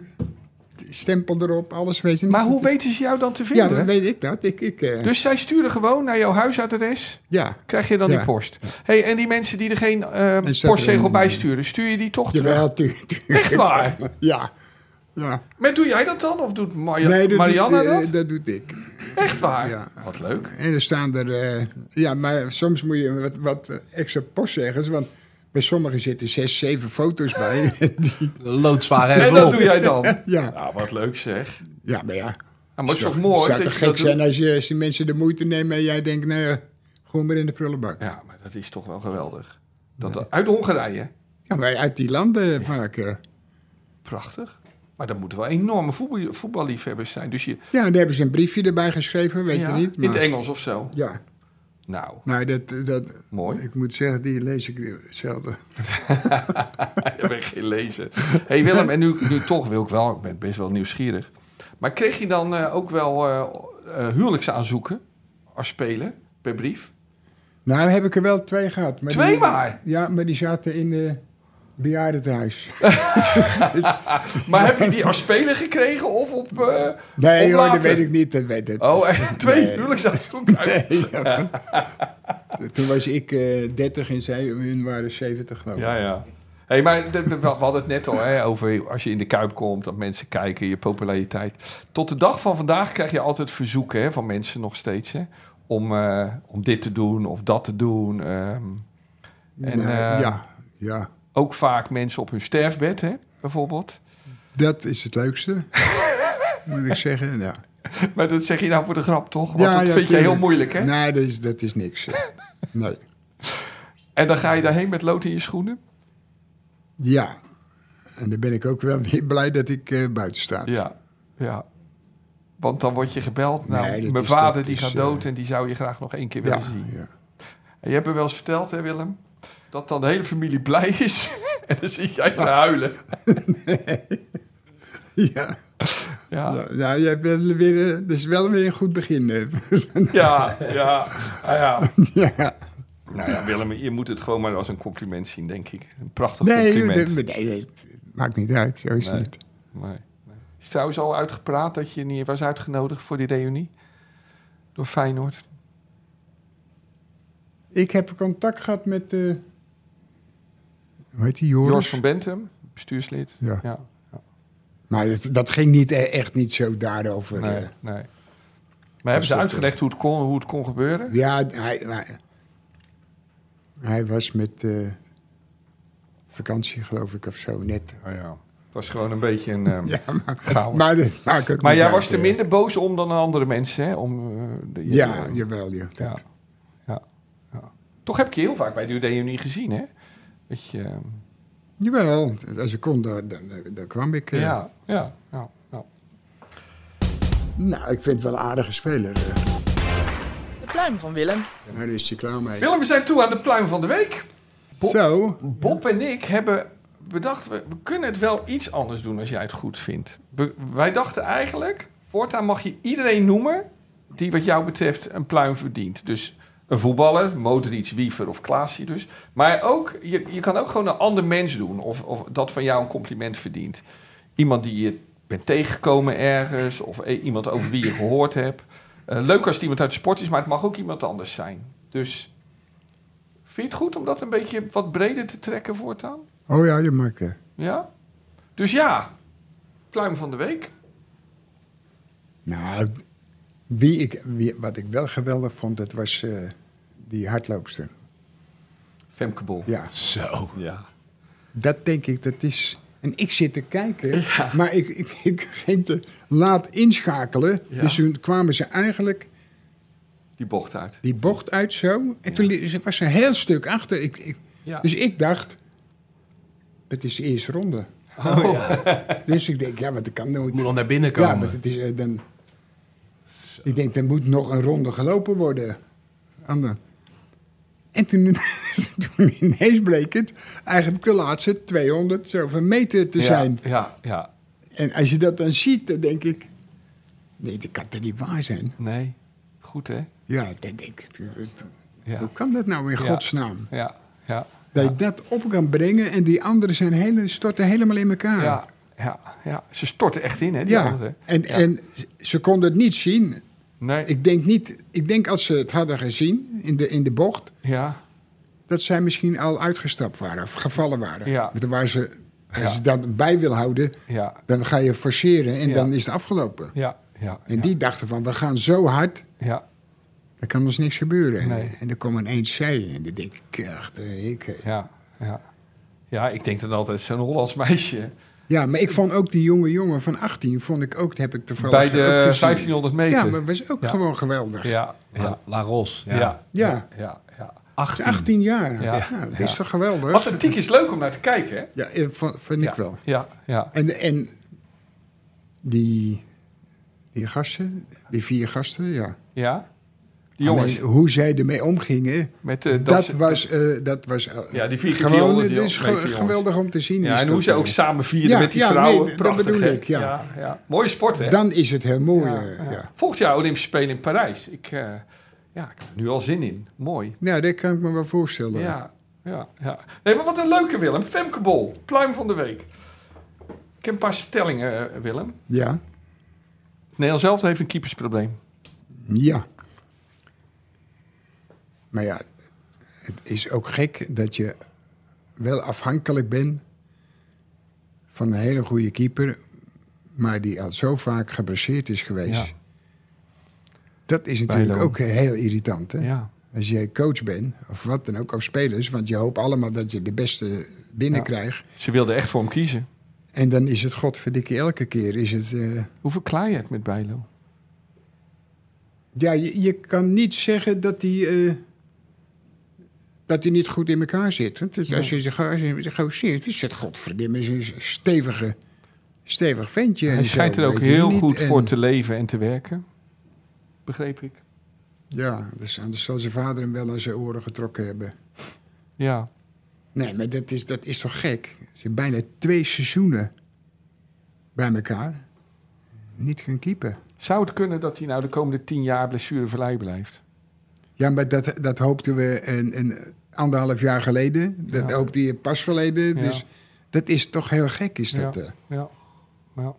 stempel erop, alles weet je niet.
Maar hoe
Dat is-
weten ze jou dan te
Ja,
vinden?
dan weet ik dat. Ik, ik, eh,
dus zij sturen gewoon naar jouw huisadres,
ja,
krijg je dan
Ja.
die post. hey, en die mensen die er geen eh,
staat er
postzegel
een-
bij sturen, stuur je die toch terug?
jawel, tuurlijk.
Echt waar?
Ja, ja.
Maar doe jij dat dan? Of doet Marja-
Nee, dat
Marianne Ah.
doet, eh,
dat?
dat doet ik.
Echt waar?
ja.
Wat leuk.
En er staan er, eh, ja, maar soms moet je wat, wat extra postzeggers, want bij sommigen zitten zes, zeven foto's bij.
Loodzwaar
En dat doe jij dan?
ja,
Nou, wat leuk zeg.
ja, maar ja.
Nou, maar het is toch
Het
mooi?
zou
dat
toch
je dat
gek zijn
doet?
als, je, als die mensen de moeite nemen en jij denkt, nou ja, gewoon maar in de prullenbak.
Ja, maar dat is toch wel geweldig. Dat, Uit Hongarije.
Ja, maar uit die landen vaak. eh.
Prachtig. Maar dat moeten wel enorme voetbal, voetballiefhebbers zijn. Dus je,
Ja, en daar hebben ze een briefje erbij geschreven, weet
Ja,
je niet.
in het
maar-
Engels of zo.
Ja,
Nou,
nou, dat, dat,
mooi.
ik moet zeggen, die lees ik zelden.
Daar ben ik geen lezen. hey Willem, en nu, nu toch wil ik wel, ik ben best wel nieuwsgierig. Maar kreeg je dan eh, ook wel eh eh, huwelijksaanzoeken als speler per brief?
Nou, heb ik er wel twee gehad. Maar
Twee
die-
maar!
Ja, maar die zaten in de bejaardentehuis.
Maar heb je die als speler gekregen of op... eh,
Nee,
Of
hoor, dat
later.
weet ik niet. Dat weet ik.
oh, eh, twee
Nee.
huwelijksaanzoeken uit.
Toen was ik eh 30 en zij, hun waren 70 geloof ik.
Ja, ja. Hey, maar de- we we hadden het net al hè, over als je in de Kuip komt, dat mensen kijken, je populariteit. Tot de dag van vandaag krijg je altijd verzoeken hè, van mensen nog steeds hè, om, eh, om dit te doen of dat te doen. ehm. en
Nou,
eh,
ja, ja.
ook vaak mensen op hun sterfbed, hè, bijvoorbeeld.
Dat is het leukste. moet ik zeggen, ja.
Maar dat zeg je nou voor de grap, toch? Want
Ja,
dat vind je
ja, tuurlijk. Nou.
heel moeilijk, hè?
Nee, dat is, dat is niks. Nee.
En dan ga je daarheen met lood in je schoenen.
Ja. En dan ben ik ook wel weer blij dat ik eh, buiten sta.
Ja, ja. Want dan word je gebeld. Nou,
Nee, dat
mijn
is-
vader
dat
die
is,
gaat
eh,
dood en die zou je graag nog één keer willen
ja,
zien.
ja.
En je hebt me wel eens verteld, hè Willem? Dat dan de hele familie blij is. en dan zie jij te huilen.
Ja.
Ja, ja,
Nou, nou, jij bent weer, eh, dat is wel weer een goed begin. eh.
ja. Ah, ja.
ja.
Nou ja, Willem, je moet het gewoon maar als een compliment zien, denk ik. Een prachtig
Nee,
compliment.
dat- nee, nee, het maakt niet uit. Zo is het
Nee.
niet.
Nee, nee. Is het trouwens al uitgepraat dat je niet was uitgenodigd voor die reunie? Door Feyenoord.
Ik heb contact gehad met... eh hoe heet die? Joris?
Joris van Bentum, bestuurslid.
Ja.
Ja,
Maar dat, dat ging niet, eh, echt niet zo daarover.
nee,
eh.
nee. Maar hebben ze
dat,
uitgelegd hoe het kon, hoe het kon gebeuren?
Ja, hij, hij, hij was met eh, vakantie, geloof ik, of zo, net.
Oh ja. Het was gewoon een beetje een ehm
Ja, maar,
chaos.
maar dat maakt ook
Maar
niet
jij
uit,
was er
eh.
minder boos om dan andere mensen, hè? Om, eh, de-
Ja, jawel. Ja,
ja.
dat-
Ja. Toch heb ik je heel vaak bij de Udeunie gezien, hè? Dat je, eh,
Jawel, als ik kon, daar, daar, daar kwam ik. eh.
ja, ja, ja, ja.
Nou, ik vind het wel een aardige speler. eh.
De pluim van Willem.
Daar is hij klaar mee.
Willem, we zijn toe aan de pluim van de week. Bob.
Zo,
Bob en ik hebben bedacht, we, we kunnen het wel iets anders doen als jij het goed vindt. We- wij dachten eigenlijk, voortaan mag je iedereen noemen die wat jou betreft een pluim verdient. Dus een voetballer, Modric, Wiever of Klaasje dus. Maar ook, je, je kan ook gewoon een ander mens doen of, of dat van jou een compliment verdient. Iemand die je bent tegengekomen ergens of e- iemand over wie je gehoord hebt. Eh, leuk als het iemand uit de sport is, maar het mag ook iemand anders zijn. Dus vind je het goed om dat een beetje wat breder te trekken voortaan?
oh ja, je maakt het.
Ja? Dus ja, pluim van de week.
Nou, wie ik, wie, wat ik wel geweldig vond, dat was eh, die hardloopster.
Femke Bol.
Ja,
Zo.
Ja.
dat denk ik, dat is... En ik zit te kijken, maar ik, ik, ik ging te laat inschakelen.
Ja.
Dus toen kwamen ze eigenlijk
Die bocht uit.
die bocht uit zo. En toen li- ze- was ze een heel stuk achter. Ik, ik,
Ja.
Dus ik dacht, het is de eerste ronde. dus ik denk, ja, wat ik kan nooit.
Moet nog naar binnen
Ja,
komen.
want het is eh, dan. Ik denk, er moet nog een ronde gelopen worden. Ander. En toen, toen ineens bleek het eigenlijk de laatste 200 zoveel meter te
Ja,
zijn.
Ja, ja.
En als je dat dan ziet, dan denk ik. Nee, dat kan toch niet waar zijn?
Nee. Goed, hè?
Ja, dan denk ik.
Ja.
Hoe kan dat nou in
Ja.
godsnaam?
Ja. Ja.
Dat je dat op kan brengen en die anderen zijn hele, storten helemaal in elkaar.
Ja. Ja. ja. Ze storten echt in, hè? Die
Ja,
anderen.
en, en ze konden het niet zien.
Nee.
Ik denk, niet, ik denk als ze het hadden gezien in de, in de bocht,
Ja.
dat zij misschien al uitgestapt waren of gevallen waren.
Ja.
Want Waar ze, als
Ja.
je dat bij wil houden,
Ja.
dan ga je forceren en
Ja.
dan is het afgelopen.
Ja. Ja.
En
ja.
die dachten van, we gaan zo hard,
Ja.
er kan ons niks gebeuren.
Nee.
En dan kwam ineens zij en dan denk ik, echt, eh, ik... eh.
Ja. Ja. Ja, ik denk dan altijd, zo'n Hollands meisje.
Ja, maar ik vond ook die jonge jongen van 18, vond ik ook, heb ik toevallig
Bij
ook
de
gezien.
1500 meter.
Ja, maar was ook
Ja.
gewoon geweldig.
ja, ja,
La, La Ros. Ja.
ja,
Ja.
ja, ja.
18.
18 jaar.
Ja.
Ja. dat is
Ja.
toch geweldig?
Atletiek is leuk om naar te kijken, hè?
Ja, eh, vond, vind ik
ja.
wel.
Ja, ja.
En, en die, die gasten, die vier gasten, ja.
Ja? Die jongens
Alleen hoe zij ermee omgingen,
met eh, dat...
dat, was, eh, dat was eh,
Ja, die vier- die
gewoon,
400
het is
jongens,
ge-
die jongens.
geweldig om te zien.
ja,
is
en hoe
dat
ze
dan.
ook samen vierden
Ja,
met die
ja,
vrouwen.
nee, dat
Prachtig,
bedoel
hè?
ik, ja.
Ja, ja. Mooie sport, hè?
Dan is het heel mooi. eh, Ja, ja.
Volgend jaar Olympische Spelen in Parijs. Ik, eh, ja, ik heb er nu al zin in. Mooi.
daar Nou, kan ik me wel voorstellen.
Ja, ja, ja. Nee, maar wat een leuke, Willem. Femke Bol, pluim van de week. Ik heb een paar stellingen, eh, Willem.
ja.
Nederland zelf heeft een keepersprobleem.
Ja. Maar ja, het is ook gek dat je wel afhankelijk bent van een hele goede keeper, maar die al zo vaak geblesseerd is geweest.
Ja.
Dat is natuurlijk
Bijlo.
ook heel irritant. Hè?
Ja,
Als jij coach bent, of wat dan ook, of spelers, want je hoopt allemaal dat je de beste binnenkrijgt.
ze wilden echt voor hem kiezen.
En dan is het godverdikkie elke keer. Is het, eh,
Hoe verklaar je het met Bijlo?
Ja, je, je kan niet zeggen dat die, eh, dat die niet goed in elkaar zit. Want het- als je ze go- als je ze gewoon ziet, is het godverdomme is een stevige, stevig ventje.
Hij
en zo,
schijnt er ook
weet je,
heel
niet
goed
en-
voor te leven en te werken. Begreep ik.
Ja, dus anders zal zijn vader hem wel aan zijn oren getrokken hebben.
Ja,
Nee, maar dat is, dat is toch gek? Ze zijn bijna twee seizoenen bij elkaar. Niet gaan keeper.
Zou het kunnen dat hij nou de komende tien jaar blessurevrij blijft?
Ja, maar dat, dat hoopten we een, een anderhalf jaar geleden. Dat
Ja.
hoopte je pas geleden.
Ja.
Dus dat is toch heel gek, is dat. eh.
Ja. ja.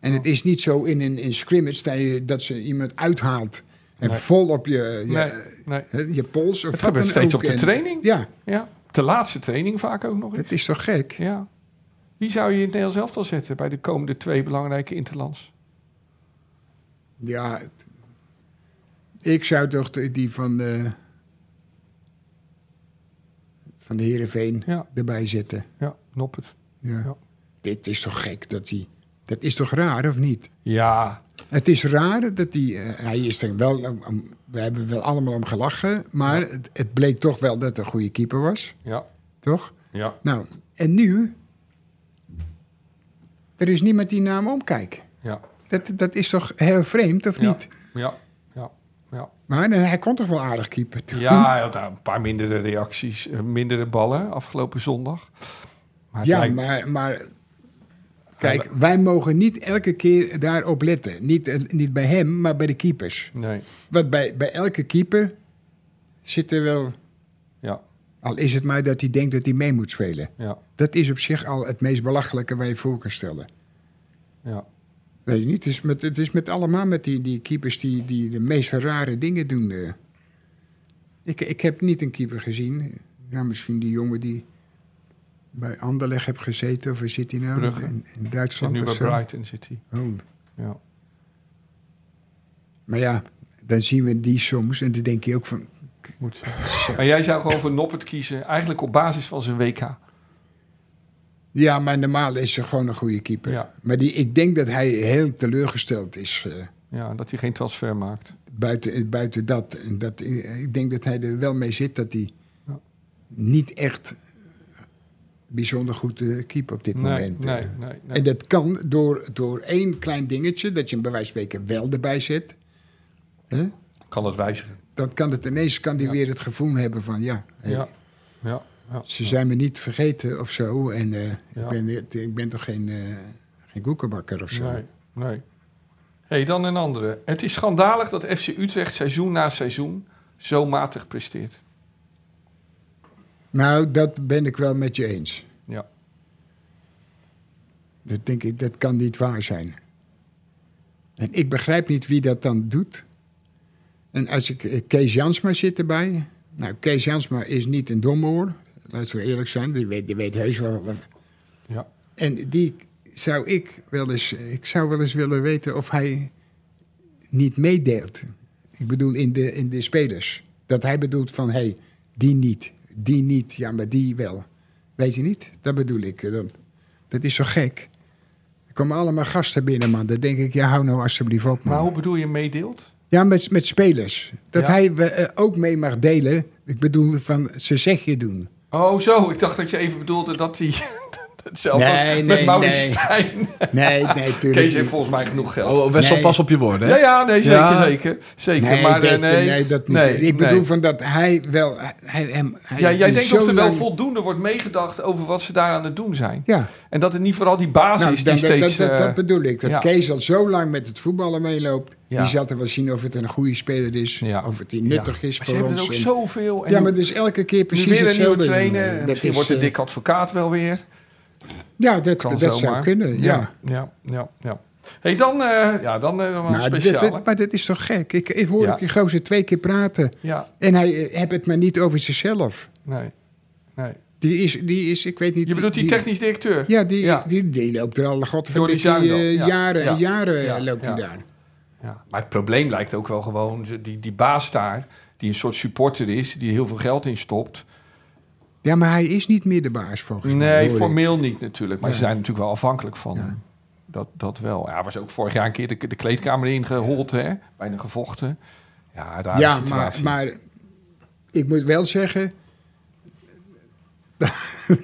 En het is niet zo in een in scrimmage dat, je, dat ze iemand uithaalt en
Nee.
vol op je, je,
Nee, nee.
hè, je pols of
Het
wat dan
gebeurt steeds
ook.
op de
En-
training.
Ja,
Ja. De laatste training vaak ook nog eens.
dat is toch gek?
Ja. Wie zou je in het Nederlands elftal zetten bij de komende twee belangrijke interlands?
Ja, het- ik zou toch de- die van eh, de, van de Heerenveen
Ja.
erbij zetten.
Ja, Noppert.
Ja.
Ja.
Dit is toch gek dat die... Dat is toch raar, of niet?
Ja,
Het is raar dat hij. eh, hij is er wel. om- om- we hebben wel allemaal om gelachen. Maar het, het bleek toch wel dat het een goede keeper was.
Ja,
Toch?
ja,
Nou, en nu. Er is niemand die naar hem omkijkt.
ja,
Dat, dat is toch heel vreemd, of
Ja.
niet?
ja, ja, ja.
Maar eh, hij kon toch wel aardig keeper. toen?
Ja, hij had daar een paar mindere reacties, eh, mindere ballen afgelopen zondag. Maar het
Ja,
lijkt-
maar, maar kijk, wij mogen niet elke keer daarop letten. Niet, eh, niet bij hem, maar bij de keepers.
Nee,
Want bij, bij elke keeper zit er wel...
ja,
Al is het maar dat hij denkt dat hij mee moet spelen.
ja,
Dat is op zich al het meest belachelijke waar je voor kan stellen.
ja.
Weet je niet, het is met, het is met allemaal met die, die keepers die, die de meest rare dingen doen. eh. Ik, ik heb niet een keeper gezien. Ja, misschien die jongen die bij Anderleg heb gezeten. Of waar zit hij nou?
Brugge.
In, in
Zit
Duitsland
nu bij
of zo.
Brighton zit hij.
Oh.
Ja.
Maar ja, dan zien we die soms. En dan denk je ook van...
Moet. Maar jij zou gewoon voor Noppert kiezen, eigenlijk op basis van zijn WK.
Ja, maar normaal is ze gewoon een goede keeper.
Ja.
Maar die, ik denk dat hij heel teleurgesteld is... eh,
Ja, dat hij geen transfer maakt.
Buiten, eh, buiten dat. En dat. eh, Ik denk dat hij er wel mee zit dat hij
Ja.
niet echt bijzonder goed eh, keept op dit
Nee,
moment. eh.
nee, nee. nee.
En dat kan door, door één klein dingetje, dat je hem bij wijze van spreken wel erbij zet. Hè?
Kan dat wijzigen.
Dan kan het ineens kan die
Ja.
weer het gevoel hebben van ja, hé,
Ja, ja, ja.
ze zijn me niet vergeten of zo. En eh,
Ja.
ik, ben, ik ben toch geen, eh geen koekenbakker of zo.
Nee, nee. hey, dan een andere. Het is schandalig dat FC Utrecht seizoen na seizoen zo matig presteert.
Nou, dat ben ik wel met je eens.
Ja.
Dat denk ik, dat kan niet waar zijn. En ik begrijp niet wie dat dan doet. En als ik, eh, Kees Jansma zit erbij. Nou, Kees Jansma is niet een domoor. Laten we eerlijk zijn, die weet, die weet heus wel.
Ja.
En die zou ik wel eens, ik zou wel eens willen weten of hij niet meedeelt. Ik bedoel, in de, in de spelers. Dat hij bedoelt van, hé, hey, die niet, die niet, ja, maar die wel. Weet je niet? Dat bedoel ik. eh, Dat, dat is zo gek. Er komen allemaal gasten binnen, man. Dan denk ik, ja, hou nou alsjeblieft op, man.
Maar hoe bedoel je meedeelt?
Ja, met, met spelers. Dat
Ja.
hij eh, ook mee mag delen. Ik bedoel, van, ze zeg je doen.
Oh, zo. Ik dacht dat je even bedoelde dat hij... Hetzelfde
Nee,
als met
nee,
Mauri
nee.
Stijn.
Nee, nee, tuurlijk
Kees heeft
niet.
volgens mij genoeg geld.
Oh, Wessel,
Nee.
pas op je woorden. hè?
ja, ja, nee, zeker,
Ja.
zeker. Zeker,
Nee,
maar eh,
dat,
nee.
nee, dat niet.
nee,
ik
nee.
bedoel van dat hij wel... Hij, hem, hij
Ja, jij
is
denkt
zo
dat er wel
lang-
voldoende wordt meegedacht over wat ze daar aan het doen zijn.
Ja,
En dat het niet vooral die basis
nou,
is die
dat, dat,
steeds...
dat, dat- dat
eh,
bedoel ik. Dat
ja.
Kees al zo lang met het voetballen meeloopt.
Ja.
Die zal er wel zien of het een goede speler is.
Ja.
Of het die nuttig
ja.
is
Maar
voor
ze hebben
ons.
er ook
En-
zoveel. En
ja, maar dus elke keer
nu
precies
weer een nieuwe
hetzelfde.
trainer.
Dat
Misschien
is,
wordt de
eh,
dik advocaat wel weer.
Ja, dat,
Kan
dat zou
zomaar.
kunnen, ja.
Ja, ja, ja. ja. hey, dan, eh, ja, dan eh, wel een
Maar,
speciaal.
Nou, dit- dit- maar dat is toch gek? Ik, ik hoor
Ja.
ook die gozer twee keer praten.
Ja,
En hij eh, heeft het maar niet over zichzelf.
nee. nee.
Die is, die is ik weet niet...
Je bedoelt die technisch directeur?
Ja, die,
Ja.
Die, die loopt er al
Jordi
godverdikkie
Zuidam,
eh,
ja.
jaren en
Ja.
jaren
Ja.
eh, loopt
Ja.
hij daar.
Ja, maar het probleem lijkt ook wel gewoon ze- die, die baas daar, die een soort supporter is, die heel veel geld in stopt.
Ja, maar hij is niet meer de baas volgens mij.
Nee,
hoor ik.
formeel niet natuurlijk, maar
Ja.
ze zijn natuurlijk wel afhankelijk van. hem. Dat, dat wel. Ja, hij was ook vorig jaar een keer de, de kleedkamer ingehold, hè? Bijna gevochten. Ja, daar
Ja,
is de
maar,
situatie.
maar ik moet wel zeggen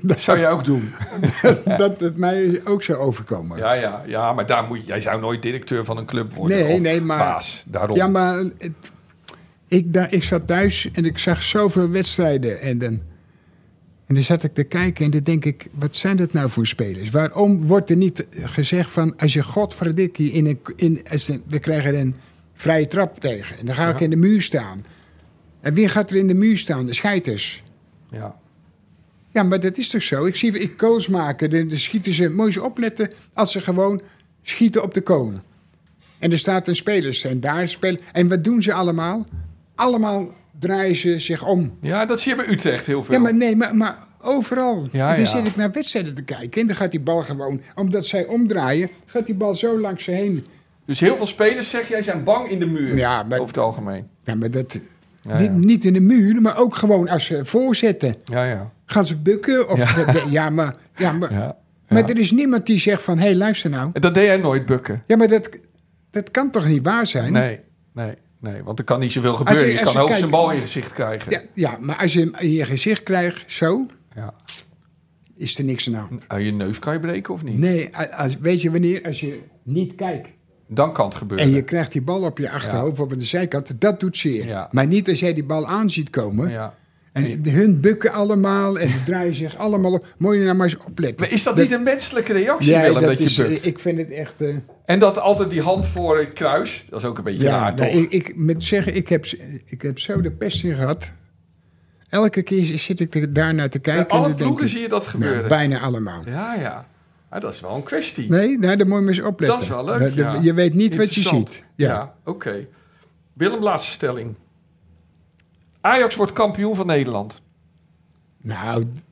Dat zou jij ook doen.
dat het mij ook zou overkomen. Ja,
Ja, ja, ja maar daar moet, je- jij zou nooit directeur van een club worden.
Nee,
of
nee, maar-
baas. Daarom.
maar het- ik, da- ik zat thuis en ik zag zoveel wedstrijden. En dan, en dan zat ik te kijken en dan denk ik, wat zijn dat nou voor spelers? Waarom wordt er niet gezegd van, als je godverdikkie in een... In, als een- we krijgen een vrije trap tegen en dan ga ik in de muur staan. En wie gaat er in de muur staan? De scheiters.
ja.
Ja, maar dat is toch zo? Ik zie ik koons maken. Dan dan schieten ze. Moet je eens opletten als ze gewoon schieten op de koon. En er staat een speler. En daar spelen. En wat doen ze allemaal? Allemaal draaien ze zich om.
ja, dat zie je bij Utrecht heel veel.
Ja, maar nee, maar, maar overal.
Ja,
en dan
ja.
zit ik naar wedstrijden te kijken. En dan gaat die bal gewoon, omdat zij omdraaien, gaat die bal zo langs ze heen.
Dus heel veel spelers, zeg jij, zijn bang in de muur.
Ja, maar-
Over het algemeen.
Ja, maar dat.
Ja,
niet,
ja.
niet in de muur, maar ook gewoon als ze voorzetten.
Ja, ja.
Gaan ze bukken? Of, ja. maar, ja, maar,
ja.
maar er is niemand die zegt van, hé, hey, luister nou.
En Dat deed jij nooit, bukken.
Ja, maar dat, Dat kan toch niet waar zijn?
Nee, nee, nee. Want er kan niet zoveel
Als
gebeuren.
je-
Je,
als
kan
je
ook
kijkt-
zijn bal in je gezicht krijgen.
Ja, ja, maar als je hem in je gezicht krijgt, zo,
Ja.
is er niks aan de hand.
Aan Nou, je neus kan je breken of niet?
Nee, a- als, weet je wanneer? Als je niet kijkt
Dan kan het gebeuren.
en je krijgt die bal op je achterhoofd of op de zijkant, dat doet zeer.
Ja.
Maar niet als jij die bal aan ziet komen.
ja.
En hun bukken allemaal en die draaien zich allemaal op. Moet je nou maar eens opletten.
Maar is dat, niet een menselijke reactie,
Ja,
Willem, dat,
dat
je
is,
bukt?
Ik vind het echt... eh,
En dat altijd die hand voor het kruis, dat is ook een beetje
Ja,
raar,
nou,
toch?
ik, ik moet zeggen, ik heb, z- ik heb zo de pest in gehad. Elke keer zit ik er- daarnaar te
Bij
kijken. en
alle
dan denk
ploegen
ik,
zie je dat
nou,
gebeuren.
bijna allemaal.
Ja, ja. Ah, dat is wel een kwestie.
Nee, nou, daar moet je maar eens opletten.
Dat is wel leuk,
Dat- dat-
ja.
Je weet niet wat je
Interessant.
ziet.
Ja,
Ja.
oké. Willem, laatste stelling. Ajax wordt kampioen van Nederland.
Nou, d-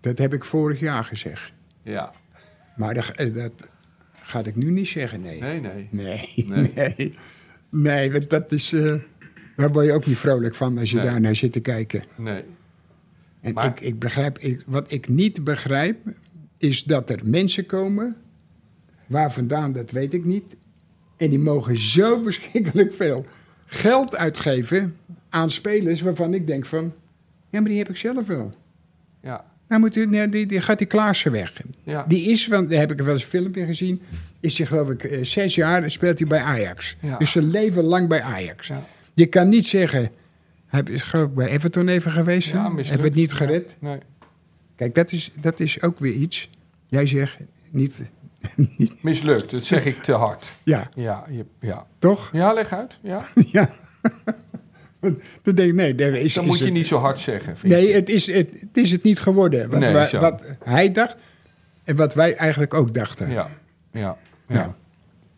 dat heb ik vorig jaar gezegd.
Ja.
Maar dat, eh, dat ga ik nu niet zeggen, nee.
Nee, nee.
Nee,
Nee.
nee. Nee, want dat is... eh, daar word je ook niet vrolijk van als je
Nee.
daarnaar zit te kijken.
Nee.
En
Maar-
ik, ik begrijp, ik, wat ik niet begrijp, is dat er mensen komen, waar vandaan, dat weet ik niet. En die mogen zo verschrikkelijk veel geld uitgeven aan spelers waarvan ik denk van, ja, maar die heb ik zelf wel.
Ja.
Nou, moet u, nou, die, die gaat die Klaassen weg.
Ja.
Die is, want daar heb ik wel eens een filmpje gezien, is hij geloof ik eh, zes jaar en speelt hij bij Ajax.
Ja.
Dus zijn leven lang bij Ajax.
Ja.
Je kan niet zeggen, hij is geloof ik bij Everton even geweest,
Ja,
hè?
mislukt.
hebben we het niet gered.
Nee.
Kijk, dat is, dat is ook weer iets. Jij zegt niet.
Mislukt, dat zeg ik te hard.
Ja,
Ja, je, ja.
toch?
ja leg uit. Ja.
Ja. Dan denk ik, nee, dat is,
Dan
is
moet je
het,
niet zo hard zeggen. vind ik.
Nee, het is het, het is het niet geworden. Wat,
Nee,
wa-
zo.
wat hij dacht en wat wij eigenlijk ook dachten.
Ja. Ja. ja.
Nou,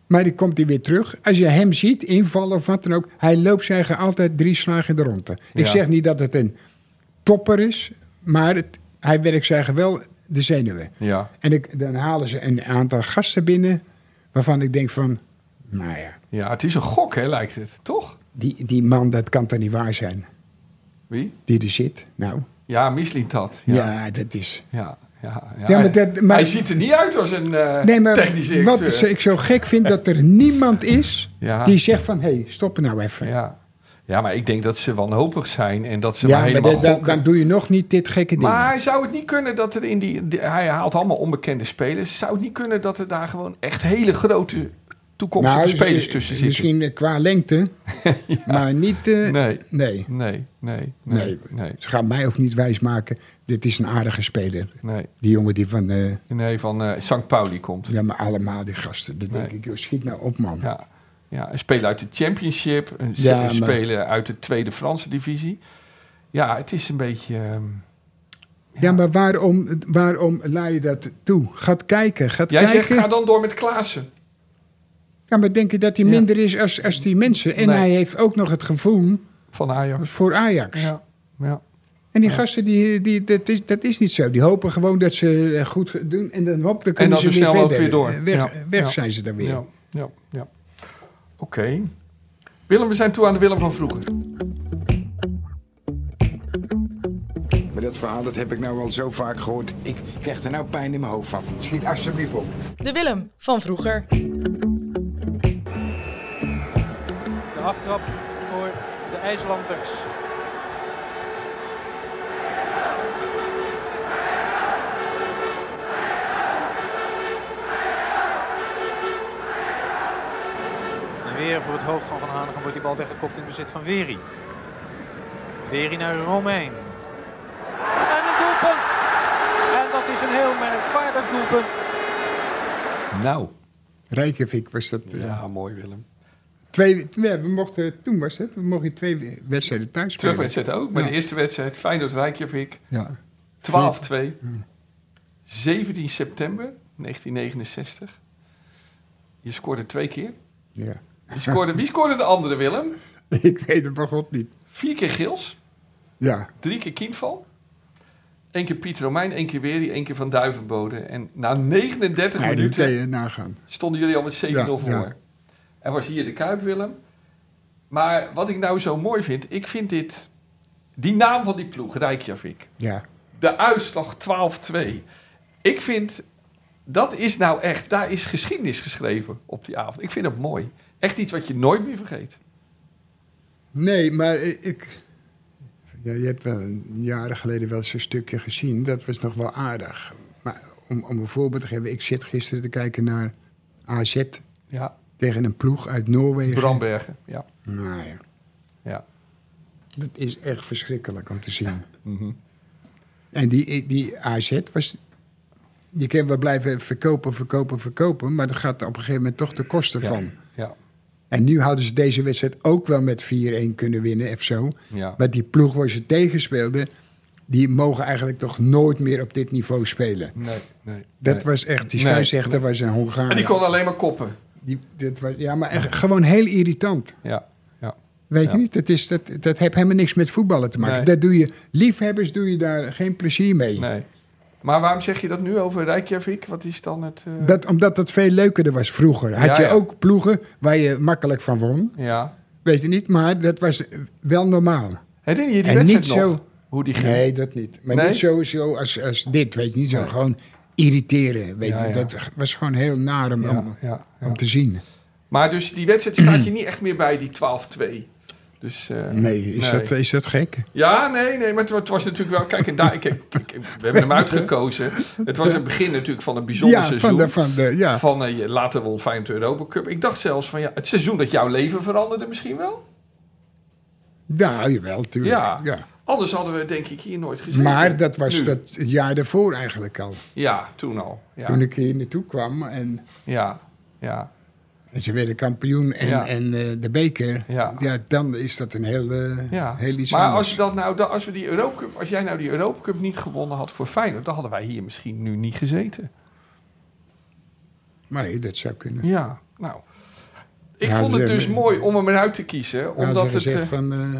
Maar die komt hij weer terug. Als je hem ziet invallen of wat dan ook, hij loopt zeggen altijd drie slagen in de ronde. Ik
Ja.
zeg niet dat het een topper is, maar het, hij werkt zeggen wel de zenuwen.
ja.
En ik, dan halen ze een aantal gasten binnen waarvan ik denk van, nou ja,
Ja, het is een gok, hè, lijkt het. Toch?
die, die man, dat kan toch niet waar zijn,
Wie?
die er zit. Nou,
Ja, mislint dat.
ja,
Ja. Ja.
dat is...
Ja. Ja,
Ja, maar dat- maar-
Hij ziet er niet uit als een eh
Nee, maar
technische
wat
directeur.
ik zo gek vind, dat er niemand is
Ja.
die zegt van, hé, hey, stop nou even. Ja,
Ja. ja, maar ik denk dat ze wanhopig zijn en dat ze maar
maar
helemaal
dat- dan,
gokken.
dan doe je nog niet dit gekke ding.
maar zou het niet kunnen dat er in die, die- Hij haalt allemaal onbekende spelers. Zou het niet kunnen dat er daar gewoon echt hele grote toekomstige
Nou,
spelers
eh,
tussen zitten?
Misschien eh, qua lengte, maar niet... eh, nee.
Nee, nee, nee, nee,
Nee.
nee,
Ze gaan mij ook niet wijsmaken, dit is een aardige speler.
nee.
Die jongen die van... eh,
Nee, van eh St. Pauli komt.
Ja, maar allemaal die gasten. Dan denk
Nee.
ik, joh, schiet nou op, man.
Ja. Ja, een speler uit de Championship, een
Ja,
s- een
maar-
speler uit de tweede Franse divisie. Ja, het is een beetje... ehm,
Ja, maar waarom, waarom laat je dat toe? Gaat kijken, gaat
Jij
kijken.
zegt, ga dan door met Klaassen.
Ja, maar denk je dat hij
Ja.
minder is als, als die mensen? En
Nee.
hij heeft ook nog het gevoel
Van Ajax.
voor Ajax.
Ja, ja.
En die gasten, die, die, dat, is, dat is niet zo. Die hopen gewoon dat ze eh, goed doen. En dan, hop, dan kunnen
dan
ze
zo
weer
snel ook
verder.
weer door.
Eh, Weg,
Ja.
weg
Ja.
zijn ze dan weer.
Ja, ja, ja. Oké. Willem, we zijn toe aan de Willem van vroeger.
Maar dat verhaal dat heb ik nou al zo vaak gehoord. Ik krijg er nou pijn in mijn hoofd van.
Schiet alsjeblieft op.
De Willem van vroeger.
De aftrap voor de IJslanders. En weer voor het hoofd van Van Hanegem wordt die bal weggekopt in bezit van Weri. Weri naar Romein. En een doelpunt! En dat is een heel merkwaardig doelpunt.
Nou.
Reykjavik was dat. eh,
Ja, mooi Willem.
twee, twee- we mochten, toen was het, we mochten twee wedstrijden thuis spelen.
Terugwedstrijd ook. Mijn
Ja.
eerste wedstrijd, Feyenoord Rijkjavik.
Ja.
12-2. 17 september 1969. Je scoorde twee keer.
ja.
Wie scoorde, wie scoorde de andere, Willem?
Ik weet het bij God niet.
Vier keer Gils.
Ja.
Drie keer Kienval. Eén keer Piet Romein, één keer Wery, één keer Van Duivenbode. En na 39
Nee, dat
minuten...
kan je nagaan.
stonden jullie al met 7-0
Ja,
voor.
ja.
En was hier de Kuip, Willem. Maar wat ik nou zo mooi vind, ik vind dit... Die naam van die ploeg, Rijkjavik.
Ja.
De uitslag 12-2. Ik vind dat is nou echt, daar is geschiedenis geschreven op die avond. Ik vind dat mooi. Echt iets wat je nooit meer vergeet.
Nee, maar i- ik. Ja, je hebt wel een jaren geleden wel zo'n stukje gezien. Dat was nog wel aardig. Maar om, om een voorbeeld te geven, ik zit gisteren te kijken naar AZ
Ja,
tegen een ploeg uit Noorwegen.
Brandbergen. Ja.
Nou ja.
Ja.
Dat is echt verschrikkelijk om te zien. En die, die AZ was. Je kan wel blijven verkopen, verkopen, verkopen. Maar dat gaat op een gegeven moment toch de kosten van.
Ja.
En nu hadden ze deze wedstrijd ook wel met 4-1 kunnen winnen of zo.
Ja.
Maar die ploeg waar ze tegen speelden, die mogen eigenlijk toch nooit meer op dit niveau spelen.
Nee, nee.
Dat
nee.
was echt, die
Nee,
scheidsrechter was een Hongaar.
En die kon alleen maar koppen.
Die- dit was, ja, maar echt gewoon heel irritant.
Ja, ja.
Weet
Ja.
je niet? Dat, is, dat, dat heeft helemaal niks met voetballen te maken.
Nee.
Dat doe je, liefhebbers doe je daar geen plezier mee.
Nee. Maar waarom zeg je dat nu over Rijkjavik? Wat is dan het... eh,
Dat, omdat dat veel leuker was vroeger. Had
Ja,
je
ja.
ook ploegen waar je makkelijk van won.
Ja.
Weet je niet? Maar dat was wel normaal.
Herinner je die
En
wedstrijd
niet
nog?
zo-
Hoe die ging?
Nee, dat niet. Maar
Nee?
niet zo, zo als, als dit, weet je niet. Zo
Nee.
gewoon irriteren, weet je.
Ja, ja.
Dat was gewoon heel naar om,
Ja,
om,
ja, ja.
om te zien.
Maar dus die wedstrijd staat je niet echt meer bij, die 12-2. Dus, eh,
Nee, is, Dat, is dat gek?
Ja, nee, nee, maar het, wa- het was natuurlijk wel... Kijk, en daar, ik, ik- ik- we hebben hem uitgekozen. Het was het begin natuurlijk van een bijzonder
Ja,
seizoen.
van de, van de, ja.
Van eh, je- later won Feyenoord de Europa Cup. Ik dacht zelfs van ja, het seizoen dat jouw leven veranderde misschien wel.
ja, Nou, jawel, tuurlijk.
Ja.
Ja.
Anders hadden we denk ik hier nooit gezien.
Maar dat was
Nu.
dat jaar daarvoor eigenlijk al.
Ja, toen al. Ja,
Toen ik hier naartoe kwam en,
ja, ja,
en ze werden kampioen en,
Ja.
en eh, de beker.
Ja.
Ja. dan is dat een heel, eh,
ja.
heel iets
maar
anders.
als, je dat nou, da- als, we die Europa Cup, als jij nou die Europa Cup niet gewonnen had voor Feyenoord... dan hadden wij hier misschien nu niet gezeten.
Nee, dat zou kunnen.
Ja, nou... Ik
Ja,
vond het
ze-
dus mooi om hem eruit te kiezen.
Omdat
Omdat het,
Nou, gezegd
eh,
van eh,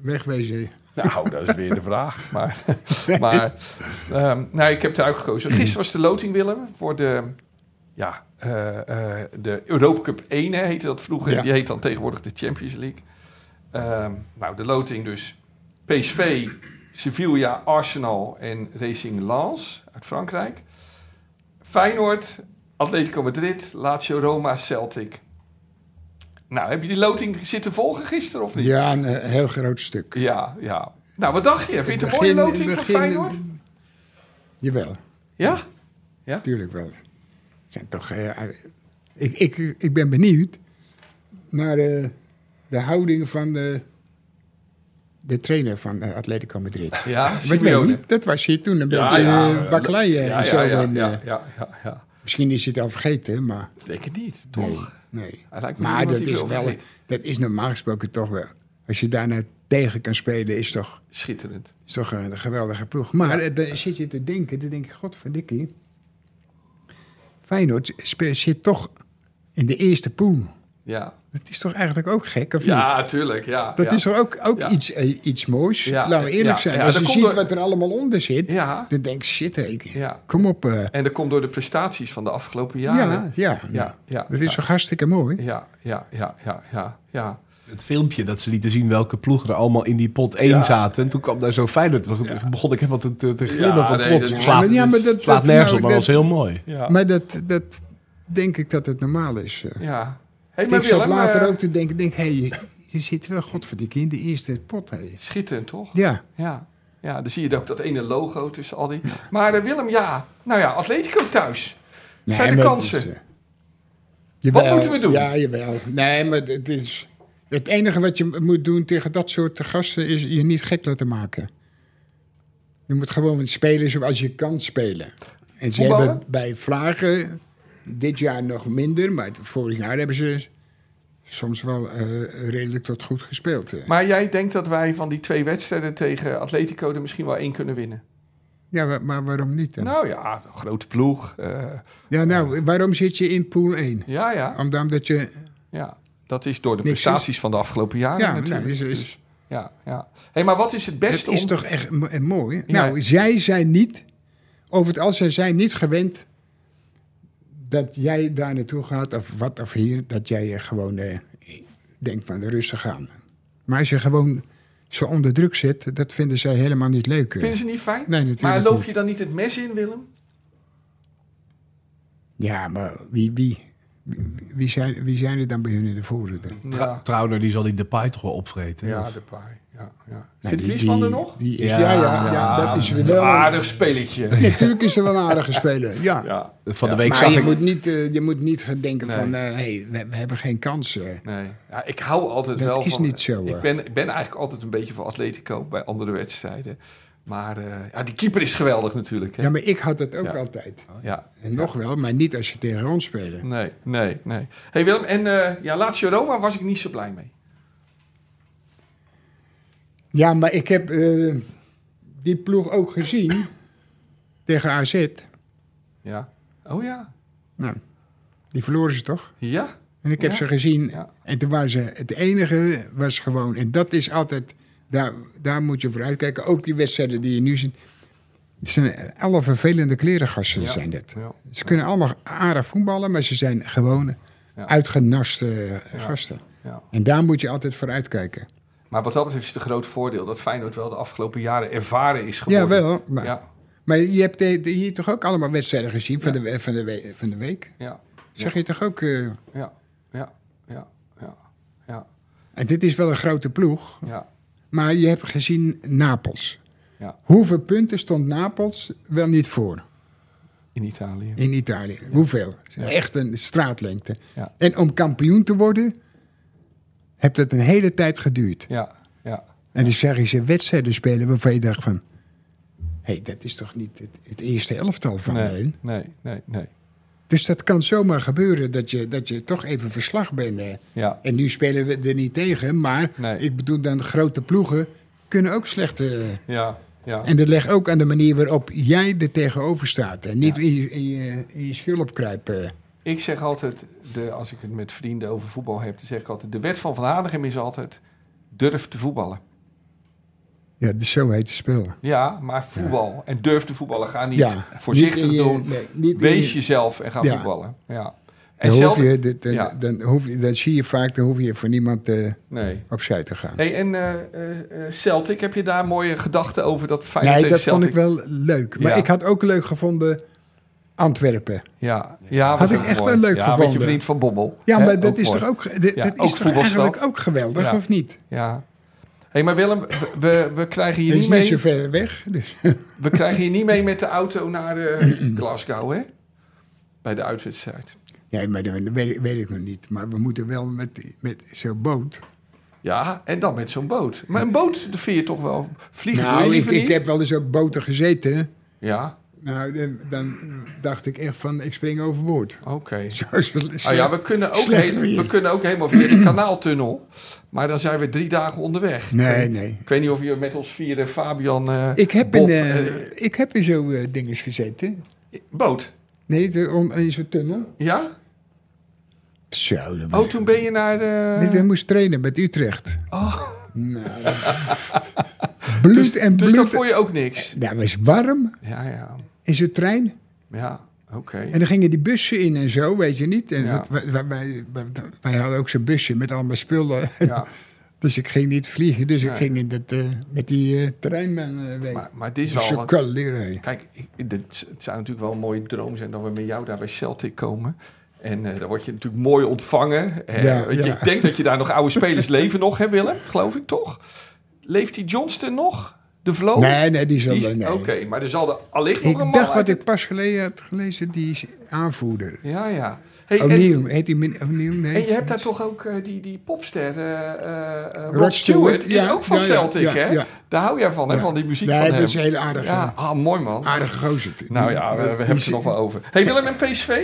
wegwezen.
Nou, dat is weer de vraag. Maar, maar ehm, nou, ik heb het eruit gekozen. Gisteren was de loting, Willem, voor de, ja, eh, eh, de Europa Cup 1 hè, heette dat vroeger.
Ja.
Die heet dan tegenwoordig de Champions League. Ehm, nou, de loting dus. PSV, Sevilla, Arsenal en Racing Lens uit Frankrijk. Feyenoord, Atletico Madrid, Lazio Roma, Celtic. Nou, heb je die loting zitten volgen gisteren of niet?
Ja, een eh, heel groot stuk.
Ja, ja. Nou, wat dacht je? Vind je het een
Begin-
mooie loting voor
begin-
Feyenoord?
Jawel,
Ja?
tuurlijk wel. Het Zijn toch, eh, ik, ik, ik ben benieuwd naar eh, de houding van de, de trainer van eh, Atletico Madrid.
Ja,
Wat weet je, dat was hier toen een
Ja,
beetje
ja,
eh,
ja.
bakkeleien
Ah, Ja,
en zo.
ja, ja,
en,
ja,
eh,
ja, ja, ja.
Misschien is hij het al vergeten, maar
Ik denk het niet,
nee.
toch?
nee.
Hij lijkt me
Maar
iemand
dat
die
is,
veel
wel,
vergeet.
dat is normaal gesproken toch wel. Als je daarna tegen kan spelen, is toch...
Schitterend.
is toch een geweldige ploeg. Maar eh, dan zit je te denken, dan denk je, godverdikkie. Feyenoord spe- zit toch in de eerste pool.
Ja,
Dat is toch eigenlijk ook gek, of niet?
ja tuurlijk, ja.
Dat
ja.
is toch ook, ook
Ja.
iets, eh, iets moois?
Ja,
Laten we eerlijk
ja,
zijn.
ja,
Als
dan
je
komt
ziet
er-
wat er allemaal onder zit,
Ja.
dan denk je, shit, hé, ik-
Ja.
kom op. eh,
En dat komt door de prestaties van de afgelopen
ja,
jaren.
ja, ja,
ja, ja.
Dat is toch hartstikke mooi?
Ja, ja, ja, ja, ja, ja.
Het filmpje dat ze lieten zien welke ploegen er allemaal in die pot 1
Ja.
zaten. En toen kwam daar zo Feyenoord. Toen begon ik helemaal te, te, te glimmen
Ja,
van
nee,
trots.
dat-
slaat,
Ja, maar dat-
slaat
dat-
nergens
nou,
op, maar
dat-
was heel mooi.
Ja.
Maar dat, dat denk ik dat het normaal is. eh.
ja. Hey, maar
ik zat
Willem,
later
eh,
ook te denken, denk, hé, je, je zit wel, godverdikkie, in de eerste pot. hé.
Schitterend, toch?
Ja.
Ja. Ja, dan zie je ook dat ene logo tussen al die... Maar eh, Willem, ja. Nou ja, Atletico thuis. Zijn de
maar
kansen?
het is, eh, jawel,
Wat moeten we doen?
Ja, jawel. Nee, maar het is... Het enige wat je moet doen tegen dat soort gasten is je niet gek laten maken. Je moet gewoon spelen zoals je kan spelen. En ze
Voetballen?
hebben bij Vlagen dit jaar nog minder, maar het- vorig jaar hebben ze soms wel eh, redelijk tot goed gespeeld. eh.
Maar jij denkt dat wij van die twee wedstrijden tegen Atletico er misschien wel één kunnen winnen?
Ja, wa- maar waarom niet dan?
Nou ja, een grote ploeg. eh,
ja, nou, waarom zit je in pool 1?
ja, ja,
Omdat je...
ja. Dat is door de
Niks is-
prestaties van de afgelopen jaren
Ja,
natuurlijk.
nou, is- is-
Dus, ja, ja. hey, maar wat is het beste
Dat is
om...
toch echt mo- eh, mooi.
Ja.
Nou, zij zijn niet, over het al zij zijn niet gewend dat jij daar naartoe gaat of wat of hier, dat jij eh, gewoon eh, denkt van rustig aan. Maar als je gewoon ze onder druk zet, dat vinden zij helemaal niet leuk. eh.
Vinden ze niet fijn?
Nee, natuurlijk
maar loop
niet.
je dan niet het mes in, Willem?
Ja, maar wie, wie, wie, zijn, wie zijn er dan bij hun in de voorzitter?
Tra- Trouwner, die zal die Depay toch wel opvreten?
Ja,
Of-
de paai. Ja, ja.
Nee,
Zit
Nou, die-
Griezmann
die-
er nog?
Die is,
Ja,
ja, ja, ja,
ja,
dat is
Een
wel...
aardig spelletje.
Natuurlijk is er wel een aardige speler, ja.
Ja.
Van de week
maar
zag
je,
ik...
moet niet, eh, je moet niet gaan denken
Nee.
van, eh, hey, we, we hebben geen eh. kansen.
Nee. Ja, ik hou altijd
Dat
wel
is
van...
niet zo,
Ik
eh.
ben, ik ben eigenlijk altijd een beetje voor Atletico bij andere wedstrijden. Maar eh, ja, die keeper is geweldig natuurlijk. Hè?
Ja, maar ik had dat ook
Ja.
altijd.
ja.
En nog wel, maar niet als je tegen ons speelt.
Nee, nee, nee. hey Willem, en eh, ja, Lazio Roma was ik niet zo blij mee.
Ja, maar ik heb eh, die ploeg ook gezien tegen AZ.
Ja. Oh ja.
Nou, die verloren ze toch?
Ja.
En ik heb
Ja.
ze gezien.
Ja.
En toen waren ze... Het enige was gewoon... En dat is altijd... Daar, daar moet je voor uitkijken. Ook die wedstrijden die je nu ziet. Het zijn alle vervelende klerengassen
Ja.
zijn dat.
Ja.
Ze kunnen allemaal aardig voetballen, maar ze zijn gewoon
Ja.
uitgenaste eh, gasten.
Ja.
En daar moet je altijd voor uitkijken.
Maar wat dat betreft is het een groot voordeel dat Feyenoord wel de afgelopen jaren ervaren is geworden.
Jawel, maar-
Ja,
Maar je hebt de- de- hier toch ook allemaal wedstrijden gezien van,
Ja.
de, we- van, de, we- van de week?
ja,
Zeg je toch ook... eh,
ja, ja, ja, ja, ja,
en dit is wel een grote ploeg,
ja.
maar je hebt gezien Napels.
Ja.
Hoeveel punten stond Napels wel niet voor?
In Italië.
In Italië. Hoeveel? Echt een straatlengte.
Ja.
En om kampioen te worden, heeft het een hele tijd geduurd.
Ja, ja.
En dan zeggen ze wedstrijden spelen waarvan je dacht van... Hé, hey, dat is toch niet het, het eerste elftal van
Nee,
hen?
nee, nee, nee.
Dus dat kan zomaar gebeuren dat je, dat je toch even verslag bent. eh.
Ja,
En nu spelen we er niet tegen, maar
Nee.
ik bedoel dan grote ploegen kunnen ook slechte...
ja, ja.
En dat legt ook aan de manier waarop jij er tegenover staat. En niet in, je, in, je, in je schulp kruipen. eh.
Ik zeg altijd, de, als ik het met vrienden over voetbal heb, dan zeg ik altijd, de wet van Van Hanegem is altijd, durf te voetballen.
Ja, dus zo heet het spel.
Ja, maar voetbal. En durf te voetballen. Ga niet
Ja,
voorzichtig
niet in je-
doen.
nee, niet in
Wees
je-
jezelf en ga
Ja.
voetballen. Ja. En
Dan, hoef
zelf...
je, dit- dan,
ja.
dan, hoef je, dan zie je vaak, dan hoef je voor niemand eh,
Nee.
opzij te gaan.
Hey, en eh, eh, eh, Celtic, heb je daar mooie gedachten over dat Feyenoord
Nee,
tegen
dat vond
Celtic?
ik wel leuk. Maar
Ja.
ik had ook leuk gevonden Antwerpen.
Ja, ja was
Had ik
ook
echt
mooi.
wel leuk
ja, Met je
gevonden.
vriend van Bommel.
Ja,
Hè,
maar dat is
mooi.
toch ook, ge- dit-
Ja,
dat
ook
is toch
voetbalstad.
eigenlijk ook geweldig,
Ja.
of niet?
Ja. hey, maar Willem, we- we, we krijgen je
Het
niet
is niet
mee...
zo ver weg. Dus.
We krijgen je niet mee met de auto naar eh, Glasgow, hè? Bij de uitwedstrijd.
Nee, maar dat weet, ik- weet ik nog niet. Maar we moeten wel met, met zo'n boot.
Ja, en dan met zo'n boot. Maar een boot, dat vind je toch wel... Vliegen doe je
Nou, ik,
liever
ik
niet?
heb wel eens op boten gezeten.
Ja,
Nou, dan, dan dacht ik echt van, ik spring overboord.
oké.
Zo is het
Ah Oh. ja, we kunnen, ook
slecht
hele-
weer.
we kunnen ook helemaal via de kanaaltunnel. Maar dan zijn we drie dagen onderweg.
Nee, nee.
Ik weet niet of je met ons vieren Fabian... eh,
Ik heb,
Bob,
in, eh,
eh,
ik heb in zo'n eh, dinges gezeten.
boot.
Nee, de- om- in zo'n tunnel.
Ja?
Zo, dat
Oh, toen ben je naar... eh,
Nee, ik moest trainen met Utrecht.
Oh.
Nou. bloed en
dus
bloed.
dan vond je ook niks.
Ja, het was warm
Ja, ja.
in zo'n trein.
Ja, oké.
En dan gingen die bussen in en zo, weet je niet. En
Ja.
dat- wij, wij- wij, wij- wij hadden ook zo'n busje met allemaal spullen.
Ja.
Dus ik ging niet vliegen, dus
Nee.
ik ging in dat, eh, met die eh treinman eh, weg.
Maar, maar dit is wel...
Zo
wat-
kan leren.
Kijk, ik- dit- het zou natuurlijk wel een mooie droom zijn dat we met jou daar bij Celtic komen. En eh, dan word je natuurlijk mooi ontvangen. Eh,
Ja,
weet je,
ja.
Ik denk dat je daar nog oude spelers leven nog, hè Willem? Geloof ik toch? Leeft die Johnston nog? De Vlo?
Nee, nee, die zal...
Oh. Die is-
nee.
Oké, maar er zal er allicht nog een
Ik
man
dacht wat
uit
ik pas geleden had gelezen, die is aanvoerder.
het- Ja, ja. Hey, en,
O'Neill, heet die min- O'Neill? Nee.
en je hebt daar toch ook eh, die, die popster, eh, eh, eh, Rod, Stewart,
Rod Stewart,
is
ja,
ook van
ja, ja,
Celtic,
ja,
hè?
ja.
Daar hou jij van, hè?
Ja.
Van die muziek
Nee,
van hem.
dat is een hele aardige,
ja, ah, mooi man.
aardige gozer.
Nou
Die-
ja, we, we
die
hebben het
is-
er nog wel over. Hey Willem en PSV?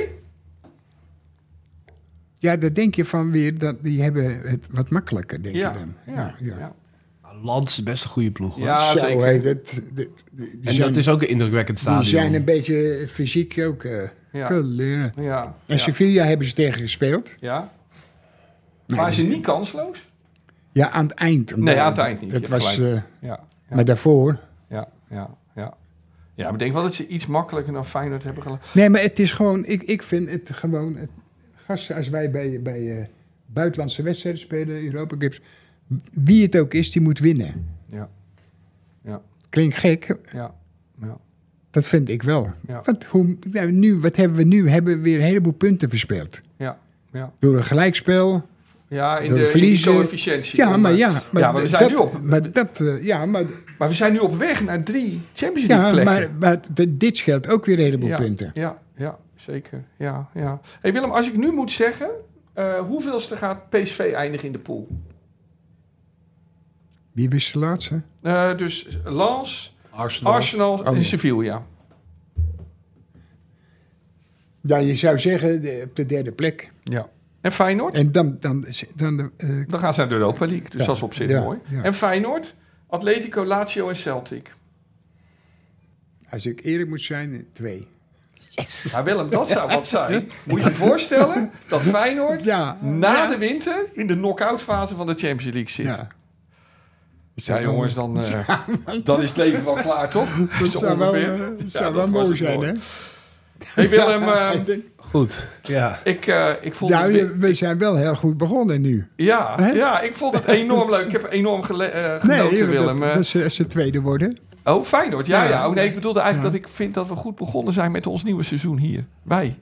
Ja, daar denk je van weer, dat die hebben het wat makkelijker, denk
Ja,
je dan.
ja,
ja.
ja.
Lans is best een goede ploeg. hoor.
Ja,
Zo
zeker.
heet het. De- de- die
en
zijn-
dat is ook een indrukwekkend
Die
stadion.
zijn een beetje fysiek ook. eh
Ja.
kunnen leren.
Ja.
En
ja.
Sevilla hebben ze tegen gespeeld.
Ja.
Nee,
Waren
dat
ze
is-
niet kansloos?
Ja, aan het eind.
Nee, aan het eind niet.
Dat
Je hebt
was, eh,
Ja, ja,
Maar daarvoor.
ja, ja, ja. Ja, maar ik denk wel dat ze iets makkelijker dan Feyenoord hebben gelaten.
Nee, maar het is gewoon. Ik, ik vind het gewoon. Het, gasten, als wij bij, bij eh, buitenlandse wedstrijden spelen, Europa Cups. Wie het ook is, die moet winnen.
Ja,
Klinkt gek,
ja, ja.
Dat vind ik wel.
Ja.
Wat, hoe, nou, nu, wat hebben we nu? Hebben we weer een heleboel punten verspeeld.
Ja, ja.
Door een gelijkspel.
ja in
Door
de, in die
verliezen.
coëfficiëntie.
Ja, maar ja. Maar,
ja, maar we
d-
zijn nu
dat,
op.
Maar dat, eh, ja, maar,
Maar we zijn nu op weg naar drie Champions League
ja,
plekken.
maar, maar d- dit scheelt ook weer een heleboel
ja,
punten.
Ja, ja, zeker. Ja, ja. Hey Willem, als ik nu moet zeggen, eh, hoeveelste gaat PSV eindigen in de pool?
Wie wist de laatste?
Eh, dus Lens,
Arsenal.
Arsenal
Oh,
en
ja.
Sevilla.
Ja, je zou zeggen de- op de derde plek.
Ja. En Feyenoord?
En dan... dan, dan, eh,
Dan gaan ze naar de Europa League. Dus
Ja,
dat is op zich
ja,
mooi.
ja.
En Feyenoord, Atletico, Lazio en Celtic.
als ik eerlijk moet zijn, twee.
Ja, Willem, dat zou wat zijn. Moet je je voorstellen dat Feyenoord
Ja.
na
Ja.
de winter in de knock-out fase van de Champions League zit. Ja,
Ja. Dat zou wel-
jongens, dan, eh, dan is het leven wel klaar, toch?
Dat
Zo
zou wel,
ongeveer.
eh, dat
Ja,
zou
dat
wel
was
mooi
het
zijn,
mooi.
hè?
Hey Willem,
Ja,
eh,
ik denk-
Goed. Ja.
ik, eh, ik vond
ja,
het...
je- we zijn wel heel goed begonnen nu.
Ja,
Hè?
ja, ik vond het enorm leuk. Ik heb enorm gele- eh, genoten,
dat-
Willem.
dat,
Eh,
ze, ze tweede worden.
Oh, Feyenoord. Ja, ja.
Ja,
Oh, nee, ik bedoelde eigenlijk
Ja.
dat ik vind dat we goed begonnen zijn met ons nieuwe seizoen hier. Wij.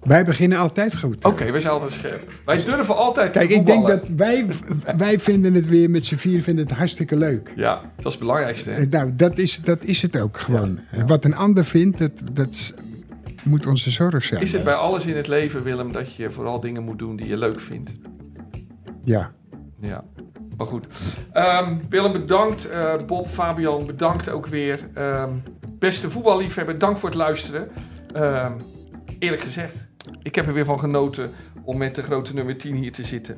Wij beginnen altijd goed.
Oké, wij zijn altijd scherp. Wij durven altijd
Dus- Kijk,
te
ik denk
voetballen.
dat wij, wij vinden het weer met z'n vier vinden het hartstikke leuk.
Ja, dat is het belangrijkste. hè?
Eh, Nou, dat is, dat is het ook gewoon. Eh, Wat een ander vindt, dat, dat is- moet onze zorg zijn.
Is het bij alles in het leven, Willem, dat je vooral dingen moet doen die je leuk vindt?
Ja.
Ja, maar goed. Ehm, Willem, bedankt. Eh, Bob, Fabian, bedankt ook weer. Ehm, beste voetballiefhebber, dank voor het luisteren. Ehm, eerlijk gezegd, ik heb er weer van genoten om met de grote nummer 10 hier te zitten.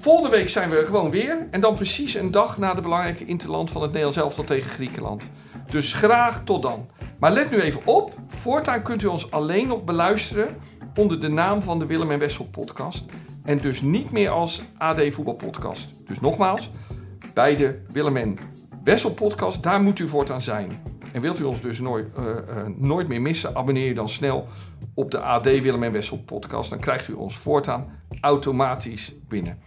Volgende week zijn we er gewoon weer. En dan precies een dag na de belangrijke interland van het Nederlands elftal tegen Griekenland. Dus graag tot dan. Maar let nu even op. Voortaan kunt u ons alleen nog beluisteren onder de naam van de Willem en Wessel podcast. En dus niet meer als AD Voetbal podcast. Dus nogmaals, bij de Willem en Wessel podcast, daar moet u voortaan zijn. En wilt u ons dus nooit, eh, eh, nooit meer missen, abonneer je dan snel op de AD Willem en Wessel podcast. Dan krijgt u ons voortaan automatisch binnen.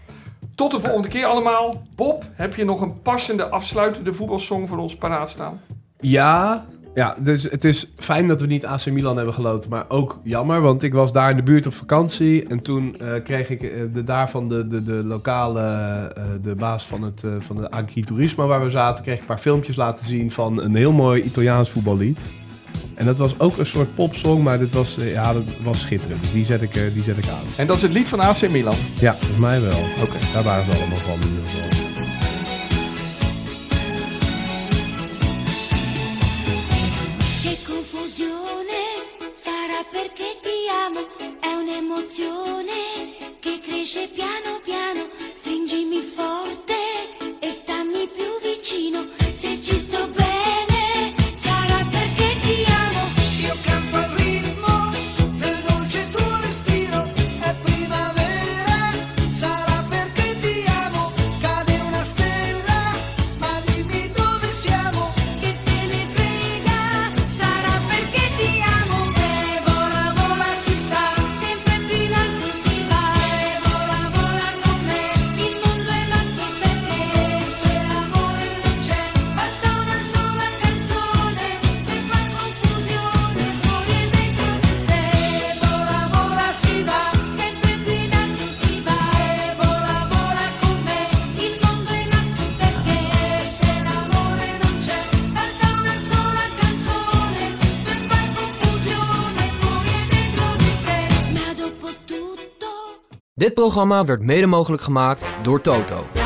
Tot de volgende keer allemaal. Bob, heb je nog een passende afsluitende voetbalsong voor ons paraat staan?
Ja, ja dus het is fijn dat we niet AC Milan hebben geloten, maar ook jammer, want ik was daar in de buurt op vakantie en toen eh, kreeg ik eh, de, daarvan de, de, de lokale, eh, de baas van het eh, van de agriturismo waar we zaten, kreeg ik een paar filmpjes laten zien van een heel mooi Italiaans voetballied. En dat was ook een soort popsong, maar dit was, eh, ja, dat was schitterend. Dus die zet ik, eh, die zet ik aan.
En dat is het lied van AC Milan.
Ja, volgens mij wel. Oké. Daar waren ze allemaal van in ieder geval.
Che confusione sarà perché ti amo, è un'emozione che cresce piano piano, stringimi forte e stammi più vicino, se ci sto bene sarà perché ti amo.
Io canto al ritmo del dolce tuo respiro, è primavera, sarà perché ti amo, cade una stella, ma dimmi dove siamo,
Che te ne frega, sarà perché ti amo.
e vola vola si sa,
Sempre più in alto si va e vola vola con me, il mondo è nato per te.
e se l'amore non c'è,
Basta una sola canzone per far confusione fuori
e
e dentro di te.
vola vola si va,
Sempre più in alto si va,
e vola vola con me,
il mondo è nato per
e
te.
se l'amore non c'è,
Basta una sola canzone per far confusione fuori e dentro di te. Ma dopo tutto
Dit programma werd mede mogelijk gemaakt door Toto.